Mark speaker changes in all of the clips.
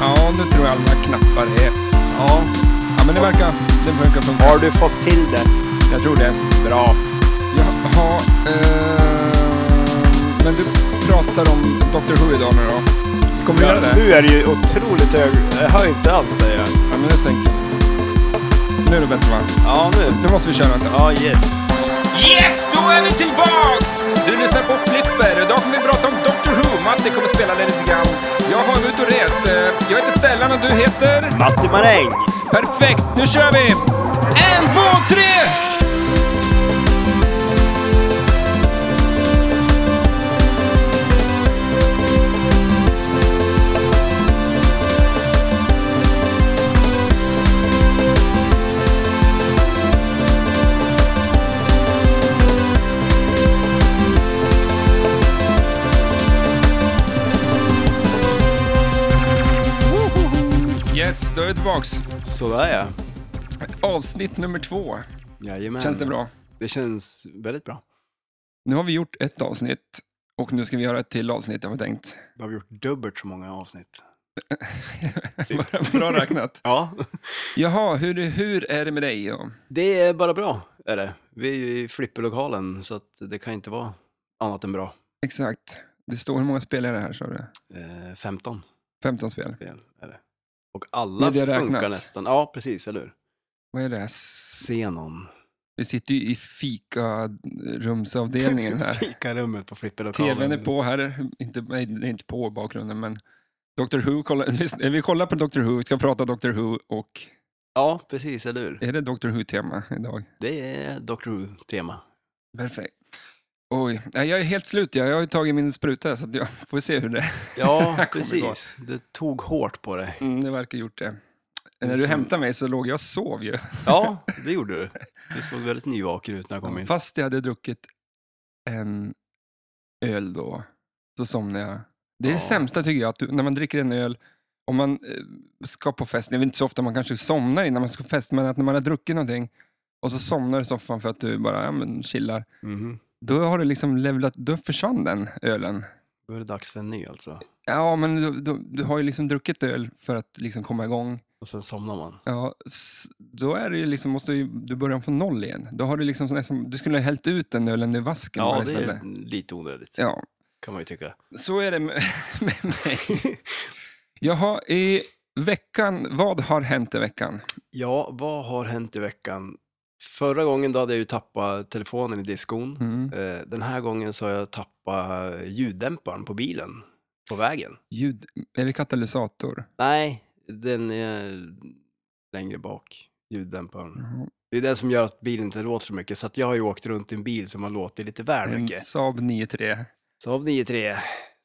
Speaker 1: Ja, nu tror jag alla knappar är.
Speaker 2: Ja.
Speaker 1: Ja, men det verkar, det verkar funka.
Speaker 2: Har du fått till det?
Speaker 1: Jag tror det.
Speaker 2: Bra.
Speaker 1: Jaha, eh, men du pratar om Dr Who idag nu då? Kommer du göra det?
Speaker 2: nu är det ju otroligt hög... Jag hör inte alls dig. här.
Speaker 1: Ja, men nu sänker vi. Nu är det bättre va?
Speaker 2: Ja, nu.
Speaker 1: Nu måste vi köra inte.
Speaker 2: Ja, yes.
Speaker 1: Yes, då är vi tillbaks! Du lyssnar på Flipper. Idag kommer vi prata om Dr Who. Matti kommer spela det lite grann. Jag har varit ute och rest. Eh, Jag heter Stellan och du heter?
Speaker 2: Matti Maräng.
Speaker 1: Perfekt, nu kör vi! En, två, tre! Yes, då är vi tillbaks.
Speaker 2: Sådär ja.
Speaker 1: Avsnitt nummer två.
Speaker 2: Jajamän.
Speaker 1: Känns det bra?
Speaker 2: Det känns väldigt bra.
Speaker 1: Nu har vi gjort ett avsnitt och nu ska vi göra ett till avsnitt har vi tänkt.
Speaker 2: Då har vi gjort dubbelt så många avsnitt.
Speaker 1: Bra räknat.
Speaker 2: Ja.
Speaker 1: Jaha, hur, hur är det med dig då?
Speaker 2: Det är bara bra, är det. Vi är ju i flipperlokalen, så att det kan inte vara annat än bra.
Speaker 1: Exakt. Det står hur många spelare här sa du?
Speaker 2: Eh, 15
Speaker 1: 15 spel.
Speaker 2: spel är det. Och alla
Speaker 1: Med det
Speaker 2: funkar
Speaker 1: räknat.
Speaker 2: nästan. Ja, precis, eller hur?
Speaker 1: Vad är det? här? S-
Speaker 2: Xenon.
Speaker 1: Vi sitter ju i fikarumsavdelningen här.
Speaker 2: Fikarummet på flipperlokalen.
Speaker 1: TVn är på här, inte, nej, det är inte på i bakgrunden men Dr Who, kolla, lyssna, vi kollar på Dr Who, vi ska prata Dr Who och
Speaker 2: Ja, precis, eller hur?
Speaker 1: är det Dr Who-tema idag?
Speaker 2: Det är Dr. Who-tema.
Speaker 1: Perfekt. Oj, nej, jag är helt slut. Jag, jag har ju tagit min spruta så att jag får se hur det
Speaker 2: Ja,
Speaker 1: Här kommer det
Speaker 2: precis. Du tog hårt på dig.
Speaker 1: mm. Det verkar gjort det. När
Speaker 2: är
Speaker 1: du
Speaker 2: som-
Speaker 1: hämtade mig så låg jag och sov ju.
Speaker 2: Ja, det gjorde du. Du såg väldigt nyvaken ut när jag kom in.
Speaker 1: Fast jag hade druckit en öl då, så somnade jag. Det är
Speaker 2: Ja.
Speaker 1: det sämsta tycker jag, att du, när man dricker en öl, om man eh, ska på fest, det är väl inte så ofta man kanske somnar innan man ska på fest, men att när man har druckit någonting och så somnar du i soffan för att du bara ja, men, chillar,
Speaker 2: Mhm.
Speaker 1: då har du liksom levlat, då försvann den ölen.
Speaker 2: Då är det dags för en ny alltså.
Speaker 1: Ja, men du, du, du har ju liksom druckit öl för att liksom komma igång.
Speaker 2: Och sen somnar man.
Speaker 1: Ja, s- då är det ju liksom, måste ju, du börja om från noll igen. Då har du liksom nästan, du skulle ha hällt ut den ölen i vasken
Speaker 2: Ja,
Speaker 1: bara
Speaker 2: det
Speaker 1: istället.
Speaker 2: är lite onödigt,
Speaker 1: Ja,
Speaker 2: kan man ju tycka.
Speaker 1: så är det med, med mig. Jaha, i veckan, vad har hänt i veckan?
Speaker 2: Ja, vad har hänt i veckan? Förra gången då hade jag ju tappat telefonen i diskon.
Speaker 1: Mm.
Speaker 2: Eh, Den här gången så har jag tappat ljuddämparen på bilen på vägen.
Speaker 1: Ljud, är det katalysator?
Speaker 2: Nej, den är längre bak, ljuddämparen.
Speaker 1: Jaha.
Speaker 2: Det är det som gör att bilen inte låter så mycket, så att jag har ju åkt runt i en bil som har låtit lite väl
Speaker 1: En
Speaker 2: mycket.
Speaker 1: Mm, Saab 9-3.
Speaker 2: Saab 9-3.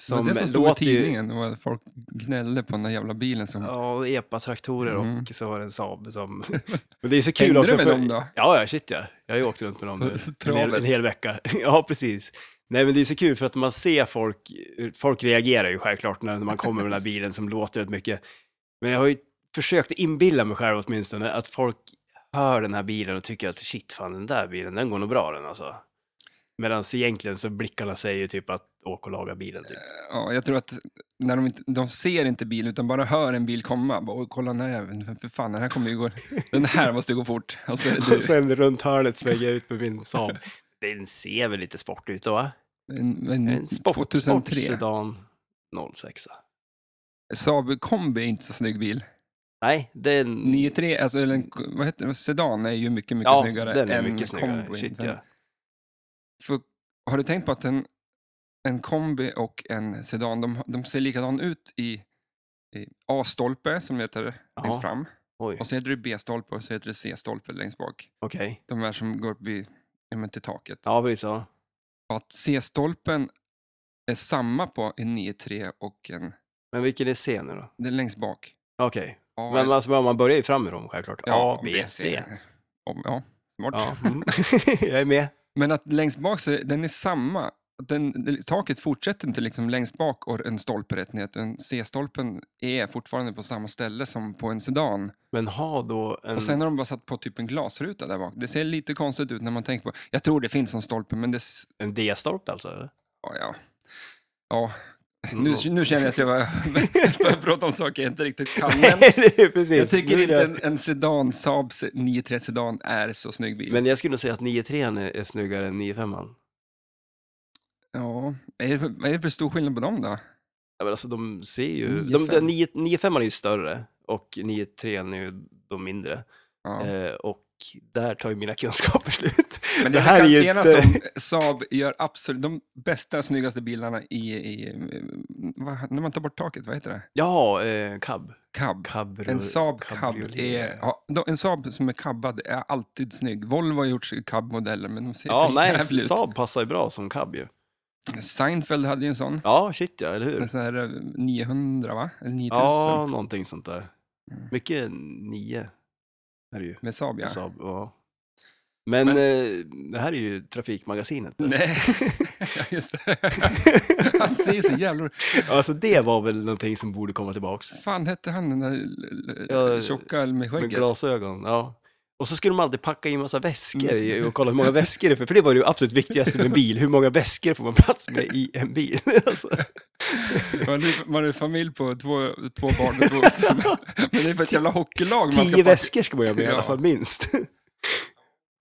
Speaker 1: Som det som stod i
Speaker 2: låter ju-
Speaker 1: tidningen, var att folk gnällde på den där jävla bilen som...
Speaker 2: Ja, EPA-traktorer
Speaker 1: Mm.
Speaker 2: och så var det en Saab som... Men det är så kul
Speaker 1: Hängde
Speaker 2: också.
Speaker 1: du med
Speaker 2: för-
Speaker 1: dem då?
Speaker 2: Ja, ja, shit ja. Jag har ju åkt runt med dem
Speaker 1: På
Speaker 2: nu en hel,
Speaker 1: travet.
Speaker 2: en hel vecka. Ja, precis. Nej, men det är så kul för att man ser folk, folk reagerar ju självklart när man kommer med den här bilen som låter väldigt mycket. Men jag har ju försökt inbilla mig själv åtminstone att folk hör den här bilen och tycker att shit, fan den där bilen, den går nog bra den alltså. Medan egentligen så blickarna säger ju typ att åk och laga bilen typ.
Speaker 1: Ja, jag tror att när de, inte, de ser inte bil utan bara hör en bil komma. Bara, "Oj, kolla den här jäveln, för fan den här kommer ju gå, den här måste gå fort. Och så är det
Speaker 2: Och
Speaker 1: du.
Speaker 2: sen runt hörnet svänger jag ut med min Saab. Den ser väl lite sportig ut då va?
Speaker 1: En, en,
Speaker 2: En sport,
Speaker 1: 2003.
Speaker 2: sportsedan 06.
Speaker 1: Saab kombi är inte så snygg bil.
Speaker 2: Nej, den...
Speaker 1: 9-3, alltså, eller en, vad heter det, sedan är ju mycket, mycket
Speaker 2: ja,
Speaker 1: snyggare
Speaker 2: den är
Speaker 1: än
Speaker 2: mycket snyggare.
Speaker 1: kombin.
Speaker 2: Shit, ja.
Speaker 1: för, har du tänkt på att en, en kombi och en sedan, de, de ser likadan ut i, i A-stolpe som heter
Speaker 2: Ja.
Speaker 1: längst fram.
Speaker 2: Oj,
Speaker 1: Och så heter det B-stolpe och så heter det C-stolpe längst bak.
Speaker 2: okej.
Speaker 1: De här som går upp i, ja, men till taket.
Speaker 2: Ja, precis. Ja.
Speaker 1: Och Att C-stolpen är samma på en 9-3 och en...
Speaker 2: Men vilken är C nu då?
Speaker 1: Det är längst bak.
Speaker 2: Okej,
Speaker 1: A,
Speaker 2: men alltså, man börjar ju framifrån självklart. A, B, C.
Speaker 1: Om- Ja, smart.
Speaker 2: Ja. mm. jag är med.
Speaker 1: Men att längst bak, så är, den är samma. Att Den, det- taket fortsätter inte liksom längst bak och en stolpe rätt ner. utan C-stolpen är fortfarande på samma ställe som på en sedan.
Speaker 2: Men ha då en...
Speaker 1: Och sen har de bara satt på typ en glasruta där bak. Det ser lite konstigt ut när man tänker på... Jag tror det finns en stolpe, men det... s-
Speaker 2: En D-stolpe alltså? eller?
Speaker 1: Ja, ja. ja
Speaker 2: Mm.
Speaker 1: Nu, nu känner jag att jag var- börjar prata om saker jag inte riktigt kan. Men
Speaker 2: Eller hur? Precis.
Speaker 1: jag tycker
Speaker 2: Nu är
Speaker 1: inte
Speaker 2: det-
Speaker 1: en, en Sedan, Saab 93 Sedan är så snygg bil.
Speaker 2: Men jag skulle nog säga att 9.3 är är snyggare än 9.5.
Speaker 1: Ja, vad är, det för, vad är det för stor skillnad på dem då?
Speaker 2: Ja, men alltså de ser ju...
Speaker 1: 9.5.
Speaker 2: 9.5 är ju större och 9.3 är ju de mindre.
Speaker 1: Ja.
Speaker 2: Eh, och där tar ju mina kunskaper slut.
Speaker 1: Men
Speaker 2: det här är ju
Speaker 1: enas
Speaker 2: inte-
Speaker 1: om Saab gör absolut de bästa, snyggaste bilarna i, i eh, vad, när man tar bort taket, vad heter det?
Speaker 2: Ja, eh, cab.
Speaker 1: Cab.
Speaker 2: Cabrio,
Speaker 1: En Saab cab
Speaker 2: cabriolet.
Speaker 1: är, ja, de- en Saab som är cabbad är alltid snygg. Volvo har gjort cab-modeller, men de ser
Speaker 2: Ja,
Speaker 1: för
Speaker 2: nej,
Speaker 1: jävligt ut.
Speaker 2: Saab passar ju bra som cab ju.
Speaker 1: Seinfeld hade ju en sån.
Speaker 2: Ja, shit ja, eller hur?
Speaker 1: En sån här eh, 900, va? Eller 9000
Speaker 2: Typ. Ja, någonting sånt där.
Speaker 1: Mm.
Speaker 2: Mycket nio är det ju.
Speaker 1: med Saab, ja.
Speaker 2: Ja. Saab, ja. Men,
Speaker 1: Men-
Speaker 2: Eh, det här är ju Trafikmagasinet.
Speaker 1: Nej, Ja, just det. Han säger så jävla...
Speaker 2: alltså det var väl någonting som borde komma tillbaks.
Speaker 1: fan hette han den där l- l-
Speaker 2: Ja,
Speaker 1: tjocka med
Speaker 2: Med
Speaker 1: skägget?
Speaker 2: glasögon, ja. Och så skulle de alltid packa in massa väskor i- och kolla hur många väskor det är för, för det var ju det absolut viktigaste med en bil. Hur många väskor får man plats med i en bil? Alltså,
Speaker 1: Man är, man är familj på två, två barn och två vuxna. Men det är för ett jävla hockeylag man ska packa-
Speaker 2: tio väskor ska man göra med i alla
Speaker 1: Ja.
Speaker 2: fall, minst.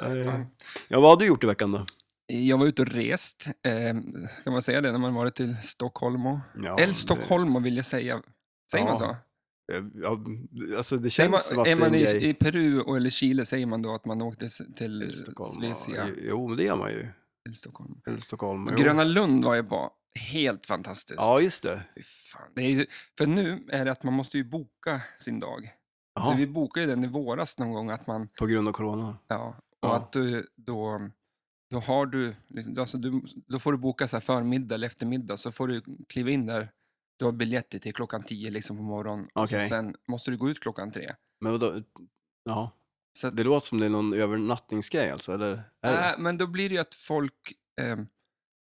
Speaker 2: Eh,
Speaker 1: Fan.
Speaker 2: ja, vad har du gjort i veckan då?
Speaker 1: Jag var ute och rest, eh, ska man säga det, när man varit till Stockholm och...
Speaker 2: Ja,
Speaker 1: Eller Stockholm och vill jag säga. Säger
Speaker 2: Ja,
Speaker 1: man så?
Speaker 2: eh, Ja, alltså
Speaker 1: Säger
Speaker 2: det känns
Speaker 1: man,
Speaker 2: som att
Speaker 1: är
Speaker 2: det är en
Speaker 1: man
Speaker 2: grej.
Speaker 1: i, i Peru och, eller Chile säger man då att man åkte s- till
Speaker 2: Stockholm,
Speaker 1: Svecia.
Speaker 2: ja. Jo, men det gör man ju.
Speaker 1: Till Stockholm.
Speaker 2: Eller Stockholm.
Speaker 1: Och
Speaker 2: jo.
Speaker 1: Gröna Lund var jag på. Helt fantastiskt.
Speaker 2: Ja, just det.
Speaker 1: Fy Fan. Det är, ju- för nu är det att man måste ju boka sin dag.
Speaker 2: Jaha,
Speaker 1: Så vi bokade ju den i våras någon gång att man
Speaker 2: På grund av corona.
Speaker 1: Ja, och
Speaker 2: Ja.
Speaker 1: att du då, då har du, liksom, du- alltså du, då får du boka så här förmiddag eller eftermiddag, så får du kliva in där, du har biljetter till klockan 10 liksom på morgonen, och så
Speaker 2: Okej.
Speaker 1: sen måste du gå ut klockan 3.
Speaker 2: Men vadå? Ja.
Speaker 1: Så att,
Speaker 2: Det låter som det är någon övernattningsgrej alltså, eller? Är det?
Speaker 1: äh, men då blir det ju att folk, ehm,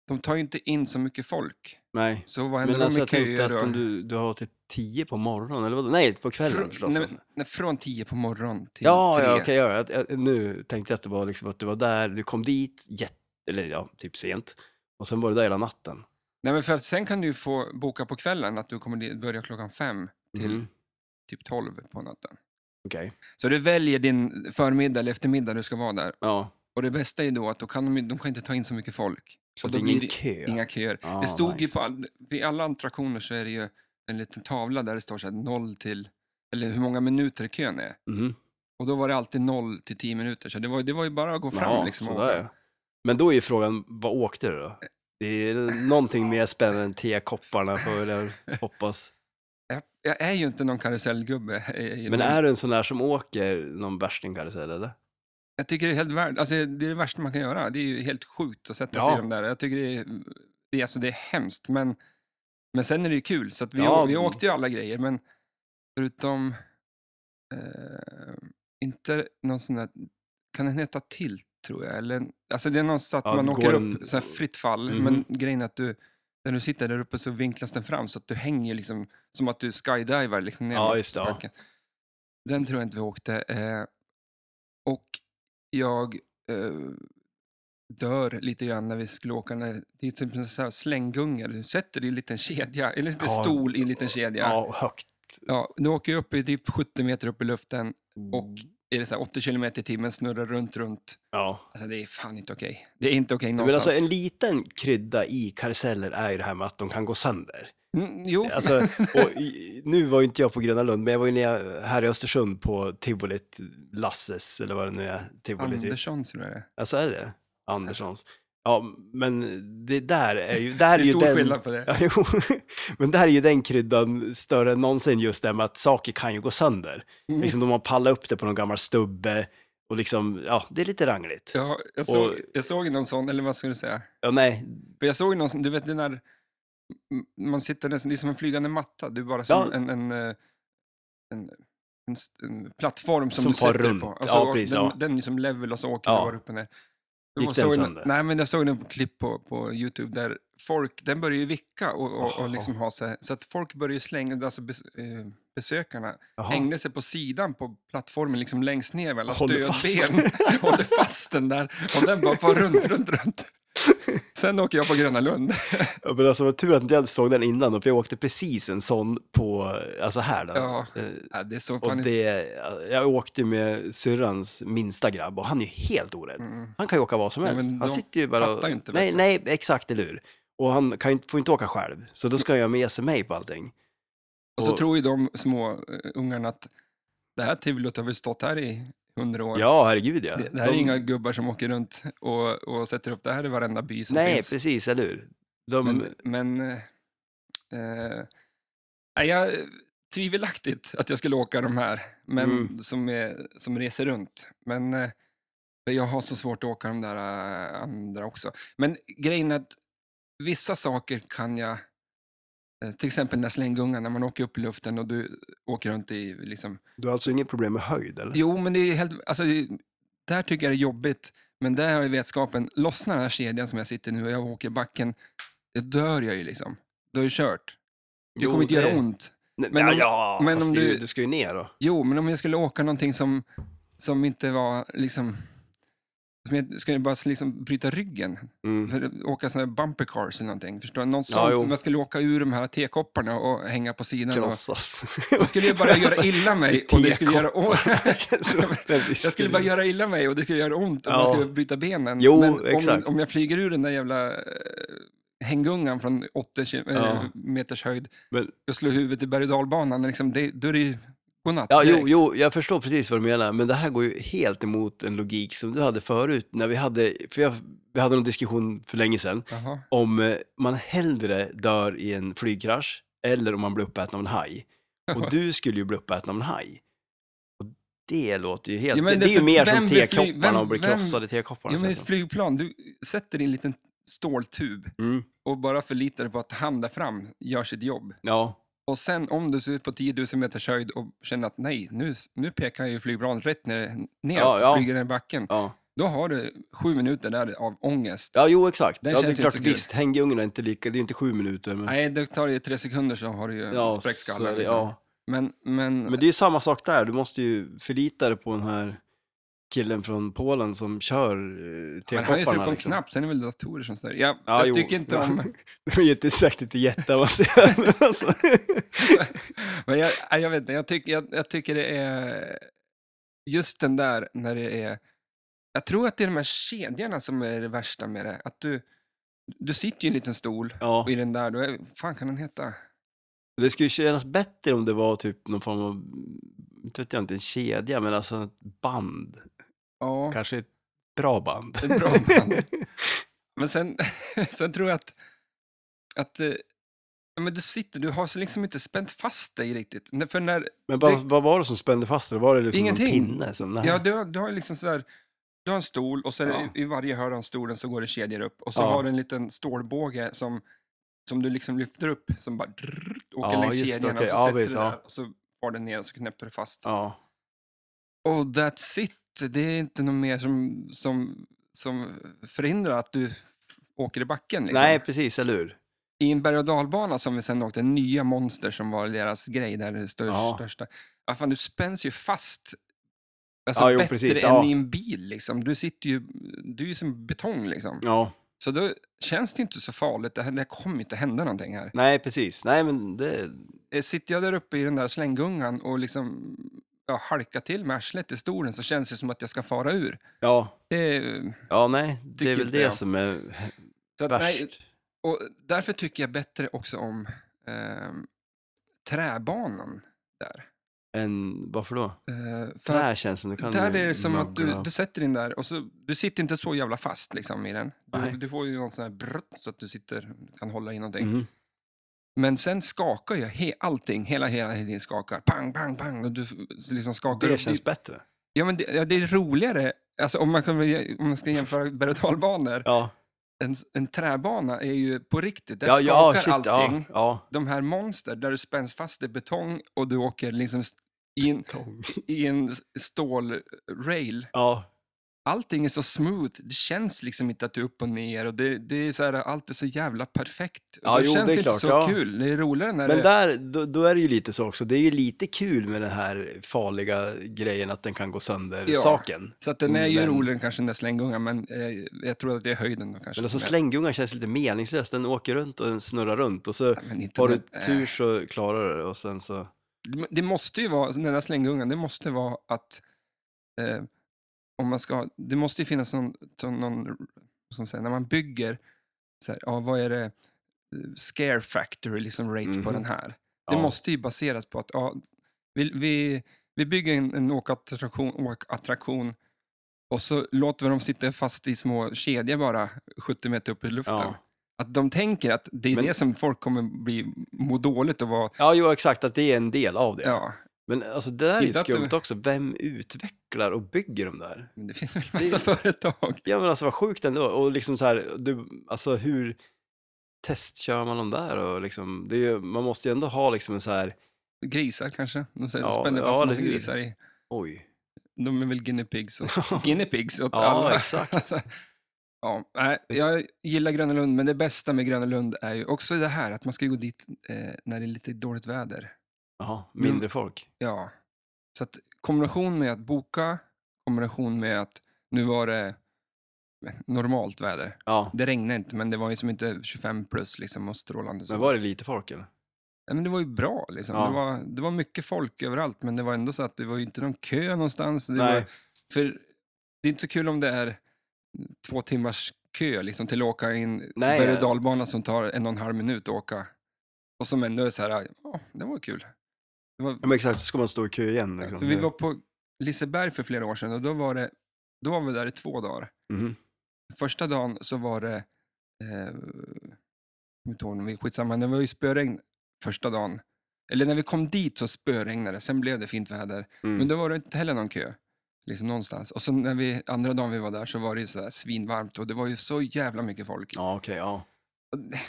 Speaker 1: de tar ju inte in så mycket folk.
Speaker 2: Nej.
Speaker 1: Så vad händer
Speaker 2: Men
Speaker 1: då
Speaker 2: alltså jag
Speaker 1: med
Speaker 2: tänkte
Speaker 1: köer?
Speaker 2: att
Speaker 1: och-
Speaker 2: om du, du har till tio på morgonen, eller vadå? Nej, på kvällen
Speaker 1: Frå-
Speaker 2: förstås.
Speaker 1: nej, men- nej, från 10 på morgonen till
Speaker 2: ja,
Speaker 1: 3.
Speaker 2: ja, okej, ja, jag, jag, nu tänkte jag att det var liksom att du var där, du kom dit jätte, eller ja, typ sent. Och sen var du där hela natten.
Speaker 1: Nej, men för att sen kan du ju få boka på kvällen, att du kommer di- börja klockan 5 till
Speaker 2: Mhm.
Speaker 1: typ 12 på natten.
Speaker 2: Okej.
Speaker 1: Så du väljer din förmiddag eller eftermiddag du ska vara där.
Speaker 2: Ja.
Speaker 1: Och det bästa är då att då kan de, ju- de kan inte ta in så mycket folk.
Speaker 2: Så
Speaker 1: Och
Speaker 2: det
Speaker 1: då
Speaker 2: är ingen
Speaker 1: blir det
Speaker 2: kö.
Speaker 1: Inga köer.
Speaker 2: Ah,
Speaker 1: det stod ju
Speaker 2: nice.
Speaker 1: på all, vid alla attraktioner så är det ju en liten tavla där det står så här 0 till, eller hur många minuter kön är.
Speaker 2: Mhm.
Speaker 1: Och då var det alltid 0 till 10 minuter, så det var, det var ju bara att gå fram.
Speaker 2: Ja,
Speaker 1: liksom, och
Speaker 2: sådär.
Speaker 1: åka.
Speaker 2: Men då är ju frågan, vad åkte du då? Det är någonting mer spännande än tekopparna får jag väl hoppas.
Speaker 1: jag, jag är ju inte någon karusellgubbe. eh,
Speaker 2: Men är du en sån där som åker någon värstingkarusell eller?
Speaker 1: Jag tycker det är helt värd, alltså, det är det värsta man kan göra. Det är ju helt sjukt att sätta sig
Speaker 2: Ja.
Speaker 1: i de där. Jag tycker det är, det är, alltså, det är hemskt, men, men sen är det ju kul. Så att vi,
Speaker 2: Ja.
Speaker 1: å- vi åkte ju alla grejer, men förutom eh, inte någon sån där, kan den heta tilt tror jag? Eller, alltså det är någon så att
Speaker 2: Ja,
Speaker 1: man
Speaker 2: det
Speaker 1: åker
Speaker 2: går
Speaker 1: upp
Speaker 2: en-
Speaker 1: så här fritt fall,
Speaker 2: Mhm.
Speaker 1: men grejen är att du, när du sitter där uppe så vinklas den fram så att du hänger liksom, som att du skydivar liksom ner
Speaker 2: Ja,
Speaker 1: mot
Speaker 2: just det, ja.
Speaker 1: backen. Den tror jag inte vi åkte. Eh, och jag eh, dör lite grann när vi skulle åka. När, det är typ en sån här slänggunga. Du sätter dig i en liten kedja, eller en liten
Speaker 2: Ja.
Speaker 1: stol i en liten kedja. Ja.
Speaker 2: Ja, och högt.
Speaker 1: du åker ju upp i typ 70 meter upp i luften. Och
Speaker 2: Mm.
Speaker 1: är det så här 80 kilometer i timmen, snurrar runt, runt.
Speaker 2: Ja.
Speaker 1: Alltså det är fan inte okej. Det är inte okej
Speaker 2: Men
Speaker 1: någonstans.
Speaker 2: alltså en liten krydda i karuseller är ju det här med att de kan gå sönder.
Speaker 1: mm, jo,
Speaker 2: Alltså, och i, nu var ju inte jag på Gröna Lund, men jag var ju nere här i Östersund på tivolit Lasses, eller vad det nu är, tivolit. typ.
Speaker 1: Andersson tror jag det är.
Speaker 2: Alltså är det det? Anderssons. Ja, men det där är ju... Där är
Speaker 1: Det är
Speaker 2: ju
Speaker 1: stor
Speaker 2: den,
Speaker 1: skillnad på det.
Speaker 2: Ja, jo. Men där är ju den kryddan större än någonsin just det med att saker kan ju gå sönder.
Speaker 1: Mm.
Speaker 2: Liksom de har pallat upp det på någon gammal stubbe och liksom, ja, det är lite rangligt.
Speaker 1: Ja, jag, såg,
Speaker 2: Och-
Speaker 1: jag såg någon sån, eller vad ska du säga?
Speaker 2: Ja, nej,
Speaker 1: För jag såg någon sån, du vet den där, m- man sitter nästan, det är som en flygande matta, du är bara som
Speaker 2: Ja.
Speaker 1: en, en, eh, en, en, st- en plattform som,
Speaker 2: Som
Speaker 1: du
Speaker 2: far
Speaker 1: sitter
Speaker 2: runt.
Speaker 1: på. Alltså,
Speaker 2: Ja, precis,
Speaker 1: den,
Speaker 2: ja.
Speaker 1: den är som level och så åker
Speaker 2: Ja.
Speaker 1: du bara upp och ner. Jag
Speaker 2: Gick den
Speaker 1: såg en-
Speaker 2: sönder?
Speaker 1: Nej, men jag såg en klipp på, på YouTube där folk, den börjar ju vicka och, och, och liksom ha sig, så att folk börjar ju slänga, alltså bes, eh, besökarna
Speaker 2: jaha.
Speaker 1: hängde sig på sidan på plattformen, liksom längst ner vid alla
Speaker 2: Håller
Speaker 1: stödben.
Speaker 2: fast.
Speaker 1: Håller fast den där och den bara far runt, runt, runt. Sen åker jag på Gröna Lund.
Speaker 2: Ja, men alltså vad tur att inte jag såg den innan, för jag åkte precis en sån på, alltså här då.
Speaker 1: Ja,
Speaker 2: Eh,
Speaker 1: ja, det är så
Speaker 2: Och
Speaker 1: fan
Speaker 2: det, jag åkte med syrrans minsta grabb och han är ju helt orädd.
Speaker 1: Mm.
Speaker 2: Han kan ju åka vad som
Speaker 1: Ja,
Speaker 2: helst.
Speaker 1: men
Speaker 2: han
Speaker 1: de
Speaker 2: sitter ju bara och...
Speaker 1: fattar inte
Speaker 2: nej,
Speaker 1: bättre.
Speaker 2: nej, exakt, eller hur? Och han kan ju, inte- får inte åka själv, så då ska jag ha med sig mig på allting.
Speaker 1: Och så
Speaker 2: Och-
Speaker 1: tror ju de små eh, ungarna att det här tivolot har väl stått här i hundra år.
Speaker 2: Ja, herregud ja.
Speaker 1: Det, det här är
Speaker 2: De-
Speaker 1: inga gubbar som åker runt och, och sätter upp det här i varenda by som
Speaker 2: Nej,
Speaker 1: finns.
Speaker 2: precis, eller hur? De,
Speaker 1: Men, men eh, eh, nej, jag, tvivelaktigt att jag skulle åka de här, men
Speaker 2: Mm.
Speaker 1: som, är, som reser runt. Men eh, jag har så svårt att åka de där eh, andra också. Men grejen är att vissa saker kan jag, eh, till exempel den där slänggungan när man åker upp i luften och du åker runt i liksom,
Speaker 2: Du har alltså inget problem med höjd, eller?
Speaker 1: Jo, men det är helt... Alltså, det- där tycker jag det är jobbigt. Men där har jag vetskapen. Lossnar den här kedjan som jag sitter nu och jag åker i backen, då dör jag ju liksom. Då är det kört. Det kommer inte göra ont.
Speaker 2: Nej,
Speaker 1: Men om-
Speaker 2: ja,
Speaker 1: men
Speaker 2: fast
Speaker 1: om
Speaker 2: det är ju-
Speaker 1: du-
Speaker 2: du ska ju ner mm, då.
Speaker 1: Jo, men om jag skulle åka någonting som, som inte var liksom... Som jag skulle bara liksom bryta ryggen.
Speaker 2: Mm.
Speaker 1: För att åka sådana här bumper cars eller någonting. Förstår du? Något
Speaker 2: Ja,
Speaker 1: sånt
Speaker 2: jo.
Speaker 1: som jag skulle åka ur de här tekopparna och hänga på sidan. Och,
Speaker 2: Krossas.
Speaker 1: då skulle jag bara göra illa mig och det skulle göra ont.
Speaker 2: jag
Speaker 1: Jag skulle bara göra illa mig och det skulle göra ont om
Speaker 2: Ja.
Speaker 1: jag skulle bryta benen.
Speaker 2: Jo,
Speaker 1: Men om,
Speaker 2: exakt.
Speaker 1: om jag flyger ur den där jävla eh, hänggungan från 80 ki- eh,
Speaker 2: Ja.
Speaker 1: meters höjd
Speaker 2: Men-
Speaker 1: och slår huvudet i berg och dalbanan, liksom, det, då är det ju godnatt
Speaker 2: Ja, jo,
Speaker 1: direkt.
Speaker 2: jo, jag förstår precis vad du menar, men det här går ju helt emot en logik som du hade förut när vi hade, för jag, vi hade en diskussion för länge sedan
Speaker 1: Jaha.
Speaker 2: om eh, man hellre dör i en flygkrasch eller om man blir uppäten av en haj. Och du skulle ju bli uppäten av en haj. Och det låter ju helt,
Speaker 1: Ja, men
Speaker 2: det, det
Speaker 1: det-
Speaker 2: är ju
Speaker 1: för
Speaker 2: mer som
Speaker 1: vem blir flyg-
Speaker 2: tekopparna
Speaker 1: vem-
Speaker 2: och blir
Speaker 1: vem-
Speaker 2: krossade i tekopparna.
Speaker 1: Jo, men
Speaker 2: känns
Speaker 1: ett
Speaker 2: det
Speaker 1: flygplan, du sätter i en liten ståltub
Speaker 2: som. mm,
Speaker 1: och bara förlitar dig på att han där fram gör sitt jobb.
Speaker 2: ja,
Speaker 1: Och sen om du ser på 10 000 meters höjd och känner att nej, nu, nu pekar ju flygplanet rätt ner, ner
Speaker 2: Ja, ja.
Speaker 1: och flyger ner i backen.
Speaker 2: ja.
Speaker 1: Då har du sju minuter där av ångest.
Speaker 2: ja, jo exakt.
Speaker 1: Den
Speaker 2: ja, det är
Speaker 1: känns ju
Speaker 2: klart,
Speaker 1: inte så kul.
Speaker 2: visst, hänggungorna är inte lika, det är ju inte sju minuter. Men,
Speaker 1: Nej, det tar ju tre sekunder så har du ju
Speaker 2: Mm. ja,
Speaker 1: spräckt
Speaker 2: så är
Speaker 1: skallen.
Speaker 2: det-
Speaker 1: Liksom.
Speaker 2: ja.
Speaker 1: Men, men,
Speaker 2: Men det är ju samma sak där, du måste ju förlita dig på den här killen från Polen som kör eh,
Speaker 1: han har ju tryckt
Speaker 2: tekopparna.
Speaker 1: på en knapp, sen är det väl datorer som styr. Jag,
Speaker 2: Ja,
Speaker 1: jag
Speaker 2: jo.
Speaker 1: tycker inte om...
Speaker 2: De är ju inte säkert inte jätteavancerade. men alltså.
Speaker 1: Men jag, nej, jag vet inte, jag, tycker jag, jag tycker det är... Just den där när det är... Jag tror att det är de här kedjorna som är det värsta med det. Att du, du sitter ju i en liten stol
Speaker 2: Ja,
Speaker 1: och i den där, då är, fan kan den heta?
Speaker 2: det skulle ju kännas bättre om det var typ någon form av, inte vet jag, inte en kedja, men alltså ett band.
Speaker 1: Ja,
Speaker 2: Kanske ett bra band.
Speaker 1: ett bra band. Men sen, sen tror jag att, att eh, ja, men du sitter, du har så liksom inte spänt fast dig riktigt. När- För när,
Speaker 2: Men vad,
Speaker 1: Det-
Speaker 2: vad var det som spände fast det? Var det liksom
Speaker 1: Ingenting.
Speaker 2: någon pinne? Som, nej.
Speaker 1: ja, du, har- du har ju liksom sådär, du har en stol och så är det,
Speaker 2: Ja.
Speaker 1: i i varje hörn av stolen så går det kedjor upp och så
Speaker 2: Ja.
Speaker 1: har du en liten stålbåge som, som du liksom lyfter upp som bara drrrr, åker
Speaker 2: Ja,
Speaker 1: längs
Speaker 2: just det,
Speaker 1: kedjorna
Speaker 2: okej.
Speaker 1: och så
Speaker 2: Ja,
Speaker 1: sätter
Speaker 2: visst,
Speaker 1: du
Speaker 2: ja.
Speaker 1: där och så far den ner och så knäpper du fast.
Speaker 2: ja.
Speaker 1: Och that's it. Det är inte något mer som, som, som förhindrar att du åker i backen. Liksom.
Speaker 2: Nej, precis, eller hur?
Speaker 1: i en berg och dalbana som vi sen åkte, nya monster som var deras grej, där det största.
Speaker 2: Ja.
Speaker 1: största. Ja, fan, du spänns ju fast alltså,
Speaker 2: Ja, jo,
Speaker 1: bättre
Speaker 2: precis,
Speaker 1: än
Speaker 2: ja.
Speaker 1: i en bil. Liksom. Du sitter ju, du är ju som betong liksom.
Speaker 2: Ja.
Speaker 1: Så då känns det inte så farligt. Det, här, det här kommer inte hända någonting här.
Speaker 2: Nej, precis. Nej, men det...
Speaker 1: Eh, Sitter jag där uppe i den där slänggungan och liksom ja, halkar till med arslet i stolen så känns det som att jag ska fara ur.
Speaker 2: Ja,
Speaker 1: Det,
Speaker 2: ja nej, det är
Speaker 1: Tycker
Speaker 2: väl
Speaker 1: inte
Speaker 2: det
Speaker 1: jag.
Speaker 2: som är
Speaker 1: så att,
Speaker 2: värst.
Speaker 1: nej, och därför tycker jag bättre också om ehm, träbanan där.
Speaker 2: Än, varför då?
Speaker 1: Eh, för att-
Speaker 2: Trä känns som du kan...
Speaker 1: Där är det som att du,
Speaker 2: mögla.
Speaker 1: du sätter in där och så, du sitter inte så jävla fast liksom i den. Du,
Speaker 2: Nej.
Speaker 1: du får ju någon sån här brrrt så att du sitter, kan hålla i någonting.
Speaker 2: Mm.
Speaker 1: Men sen skakar ju he, allting, hela, hela tiden skakar. Pang, pang, pang. Och du f- liksom skakar
Speaker 2: Det
Speaker 1: upp.
Speaker 2: känns bättre.
Speaker 1: ja, men det, ja, det är roligare, alltså, om, man kan, om man ska jämföra berg och dalbanor.
Speaker 2: Ja,
Speaker 1: En, en träbana är ju på riktigt, där
Speaker 2: ja, ja,
Speaker 1: skakar
Speaker 2: shit,
Speaker 1: allting.
Speaker 2: ja, ja.
Speaker 1: De här monster där du spänns fast i betong och du åker liksom st- i en, i en stålrail.
Speaker 2: Ja,
Speaker 1: allting är så smooth. Det känns liksom inte att du är upp och ner och det, det är så här, allt är så jävla perfekt. Och
Speaker 2: Ja,
Speaker 1: då
Speaker 2: jo,
Speaker 1: känns
Speaker 2: det är
Speaker 1: inte
Speaker 2: klart,
Speaker 1: så
Speaker 2: ja.
Speaker 1: kul. Det är roligare när
Speaker 2: Men
Speaker 1: det...
Speaker 2: där, då, då är det ju lite så också, det är ju lite kul med den här farliga grejen att den kan gå sönder
Speaker 1: Ja.
Speaker 2: saken.
Speaker 1: Så att den är ju
Speaker 2: Mm, Men-
Speaker 1: roligare än kanske den där slänggången, men eh, jag tror att det är höjden då kanske.
Speaker 2: Men alltså slänggungan känns lite meningslös, den åker runt och den snurrar runt och så
Speaker 1: Nej, men inte
Speaker 2: har du
Speaker 1: den-
Speaker 2: tur så klarar du det och sen så...
Speaker 1: eh, Det måste ju vara, den där slänggungan, det måste vara att eh, om man ska, det måste ju finnas någon, någon- någon som säger, när man bygger, så här, ja, vad är det, eh, scare factor, liksom rate på
Speaker 2: Mhm.
Speaker 1: den här. Det
Speaker 2: Ja.
Speaker 1: måste ju baseras på att ja, vi, vi, vi bygger en, en åkattraktion, åkattraktion och så låter vi dem sitta fast i små kedjor bara 70 meter upp i luften.
Speaker 2: Ja.
Speaker 1: Att de tänker att det är
Speaker 2: Men-
Speaker 1: det som folk kommer bli, må dåligt och vara...
Speaker 2: ja, jo exakt, att det är en del av det.
Speaker 1: Ja,
Speaker 2: Men alltså det där är ju
Speaker 1: Inte att
Speaker 2: skumt
Speaker 1: det-
Speaker 2: också, vem utvecklar och bygger de där?
Speaker 1: men det finns väl massa företag.
Speaker 2: Ja men alltså vad sjukt ändå, och liksom så här, du, alltså hur testkör man dem där och liksom, det är ju, man måste ju ändå ha liksom en så här,
Speaker 1: Grisar kanske? De säger,
Speaker 2: Ja,
Speaker 1: spänner
Speaker 2: ja,
Speaker 1: fast
Speaker 2: det
Speaker 1: massa
Speaker 2: är ju-
Speaker 1: grisar i.
Speaker 2: oj.
Speaker 1: De är väl guinea pigs åt, guinea pigs åt
Speaker 2: Ja,
Speaker 1: alla.
Speaker 2: exakt.
Speaker 1: Alltså, ja, nej, jag gillar Gröna Lund, men det bästa med Gröna Lund är ju också det här att man ska gå dit eh, när det är lite dåligt väder.
Speaker 2: Jaha, mindre folk.
Speaker 1: Ja. Så att kombination med att boka, kombination med att nu var det eh, normalt väder.
Speaker 2: Ja,
Speaker 1: Det regnade inte, men det var ju som inte 25 plus liksom och strålande sol.
Speaker 2: men var det lite folk eller?
Speaker 1: Ja, men det var ju bra. Liksom.
Speaker 2: Ja.
Speaker 1: Det, var, det var mycket folk överallt, men det var ändå så att det var ju inte någon kö någonstans. Det,
Speaker 2: Nej.
Speaker 1: Var, för det är inte så kul om det är två timmars kö liksom, till att åka in
Speaker 2: Nej, eh.
Speaker 1: berg och
Speaker 2: ja.
Speaker 1: dalbana som tar en och en halv minut att åka. Och som ändå är så här, ja, det var kul. Det var,
Speaker 2: Ja, men exakt, så ska man stå i kö igen. Liksom.
Speaker 1: för vi var på Liseberg för flera år sedan och då var, det, då var vi där i två dagar.
Speaker 2: Mhm.
Speaker 1: Första dagen så var det, eh, jag kommer inte ihåg, men skitsamma, det var ju spöregn första dagen. Eller när vi kom dit så spöregnade det, sen blev det fint väder.
Speaker 2: Mm.
Speaker 1: Men då var det inte heller någon kö, liksom någonstans. Och så när vi, andra dagen vi var där så var det ju så där svinvarmt och det var ju så jävla mycket folk.
Speaker 2: Ja, okej, ja.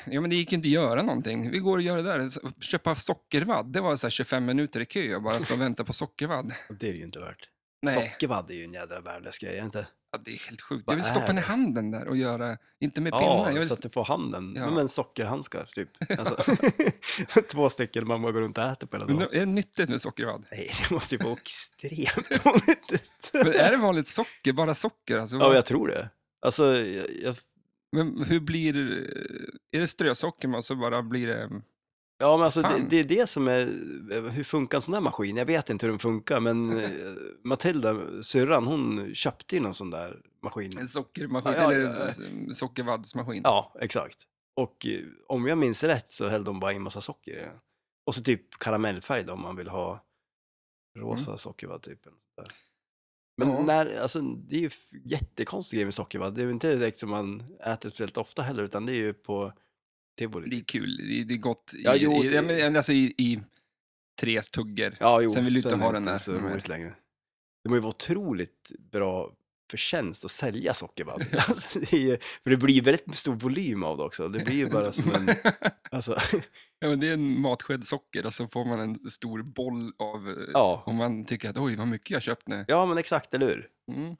Speaker 1: Ja, men det gick inte att göra någonting. Vi går och gör det där, Så- köpa sockervadd. Det var så här 25 minuter i kö och bara stå och vänta på sockervadd.
Speaker 2: Det är det ju inte värt.
Speaker 1: Nej,
Speaker 2: Sockervadd är ju en jädra värdelös grej, är det inte?
Speaker 1: ja, det är helt sjukt.
Speaker 2: Vad
Speaker 1: Jag vill
Speaker 2: är
Speaker 1: stoppa den i
Speaker 2: det?
Speaker 1: handen där och göra, inte med pinnar.
Speaker 2: Ja,
Speaker 1: Jag vill...
Speaker 2: så att du får handen.
Speaker 1: Ja.
Speaker 2: Men sockerhandskar, typ. Alltså, två stycken man bara går runt och äter på hela dagen.
Speaker 1: Undrar, är det nyttigt med sockervadd?
Speaker 2: Nej, det måste ju vara extremt dåligt. ut.
Speaker 1: Men är det vanligt socker, bara socker? Alltså,
Speaker 2: ja, jag tror det. Alltså, jag, jag,
Speaker 1: Men hur blir, eh, är det strösocker man så bara blir det...
Speaker 2: ja, men alltså, det,
Speaker 1: Fan.
Speaker 2: det är det som är... Hur funkar en sån där maskin? Jag vet inte hur den funkar, men eh, Matilda, syrran, hon köpte ju någon sån där maskin.
Speaker 1: En sockermaskin,
Speaker 2: Ja, ja,
Speaker 1: eller
Speaker 2: ja.
Speaker 1: eh, sockervaddsmaskin.
Speaker 2: Ja, exakt. Och eh, om jag minns rätt så hällde de bara in massa socker i den. Och så typ karamellfärg då, om man vill ha rosa sockervadd typ. Eller sånt där. Men
Speaker 1: Mm. Ja.
Speaker 2: när, alltså, det är ju f- jättekonstig grej med sockervadd. Det är ju inte direkt som man äter speciellt ofta heller, utan det är ju på tivoli.
Speaker 1: Det är kul, det är, det är gott i,
Speaker 2: Ja, jo,
Speaker 1: i, ja,
Speaker 2: det-
Speaker 1: men alltså i, i tre tuggor.
Speaker 2: Ja, jo,
Speaker 1: Sen vill du inte ha
Speaker 2: är det
Speaker 1: den där
Speaker 2: så
Speaker 1: mer.
Speaker 2: roligt längre. Det må ju vara otroligt bra förtjänst att sälja sockervadd. alltså, det är, ju- för det blir ju väldigt stor volym av det också. Det blir ju bara som en, alltså,
Speaker 1: ja, men det är en matsked socker och så får man en stor boll av... eh,
Speaker 2: ja.
Speaker 1: Och man tycker att oj, vad mycket jag köpt nu.
Speaker 2: Ja, men exakt, eller hur?
Speaker 1: Mm.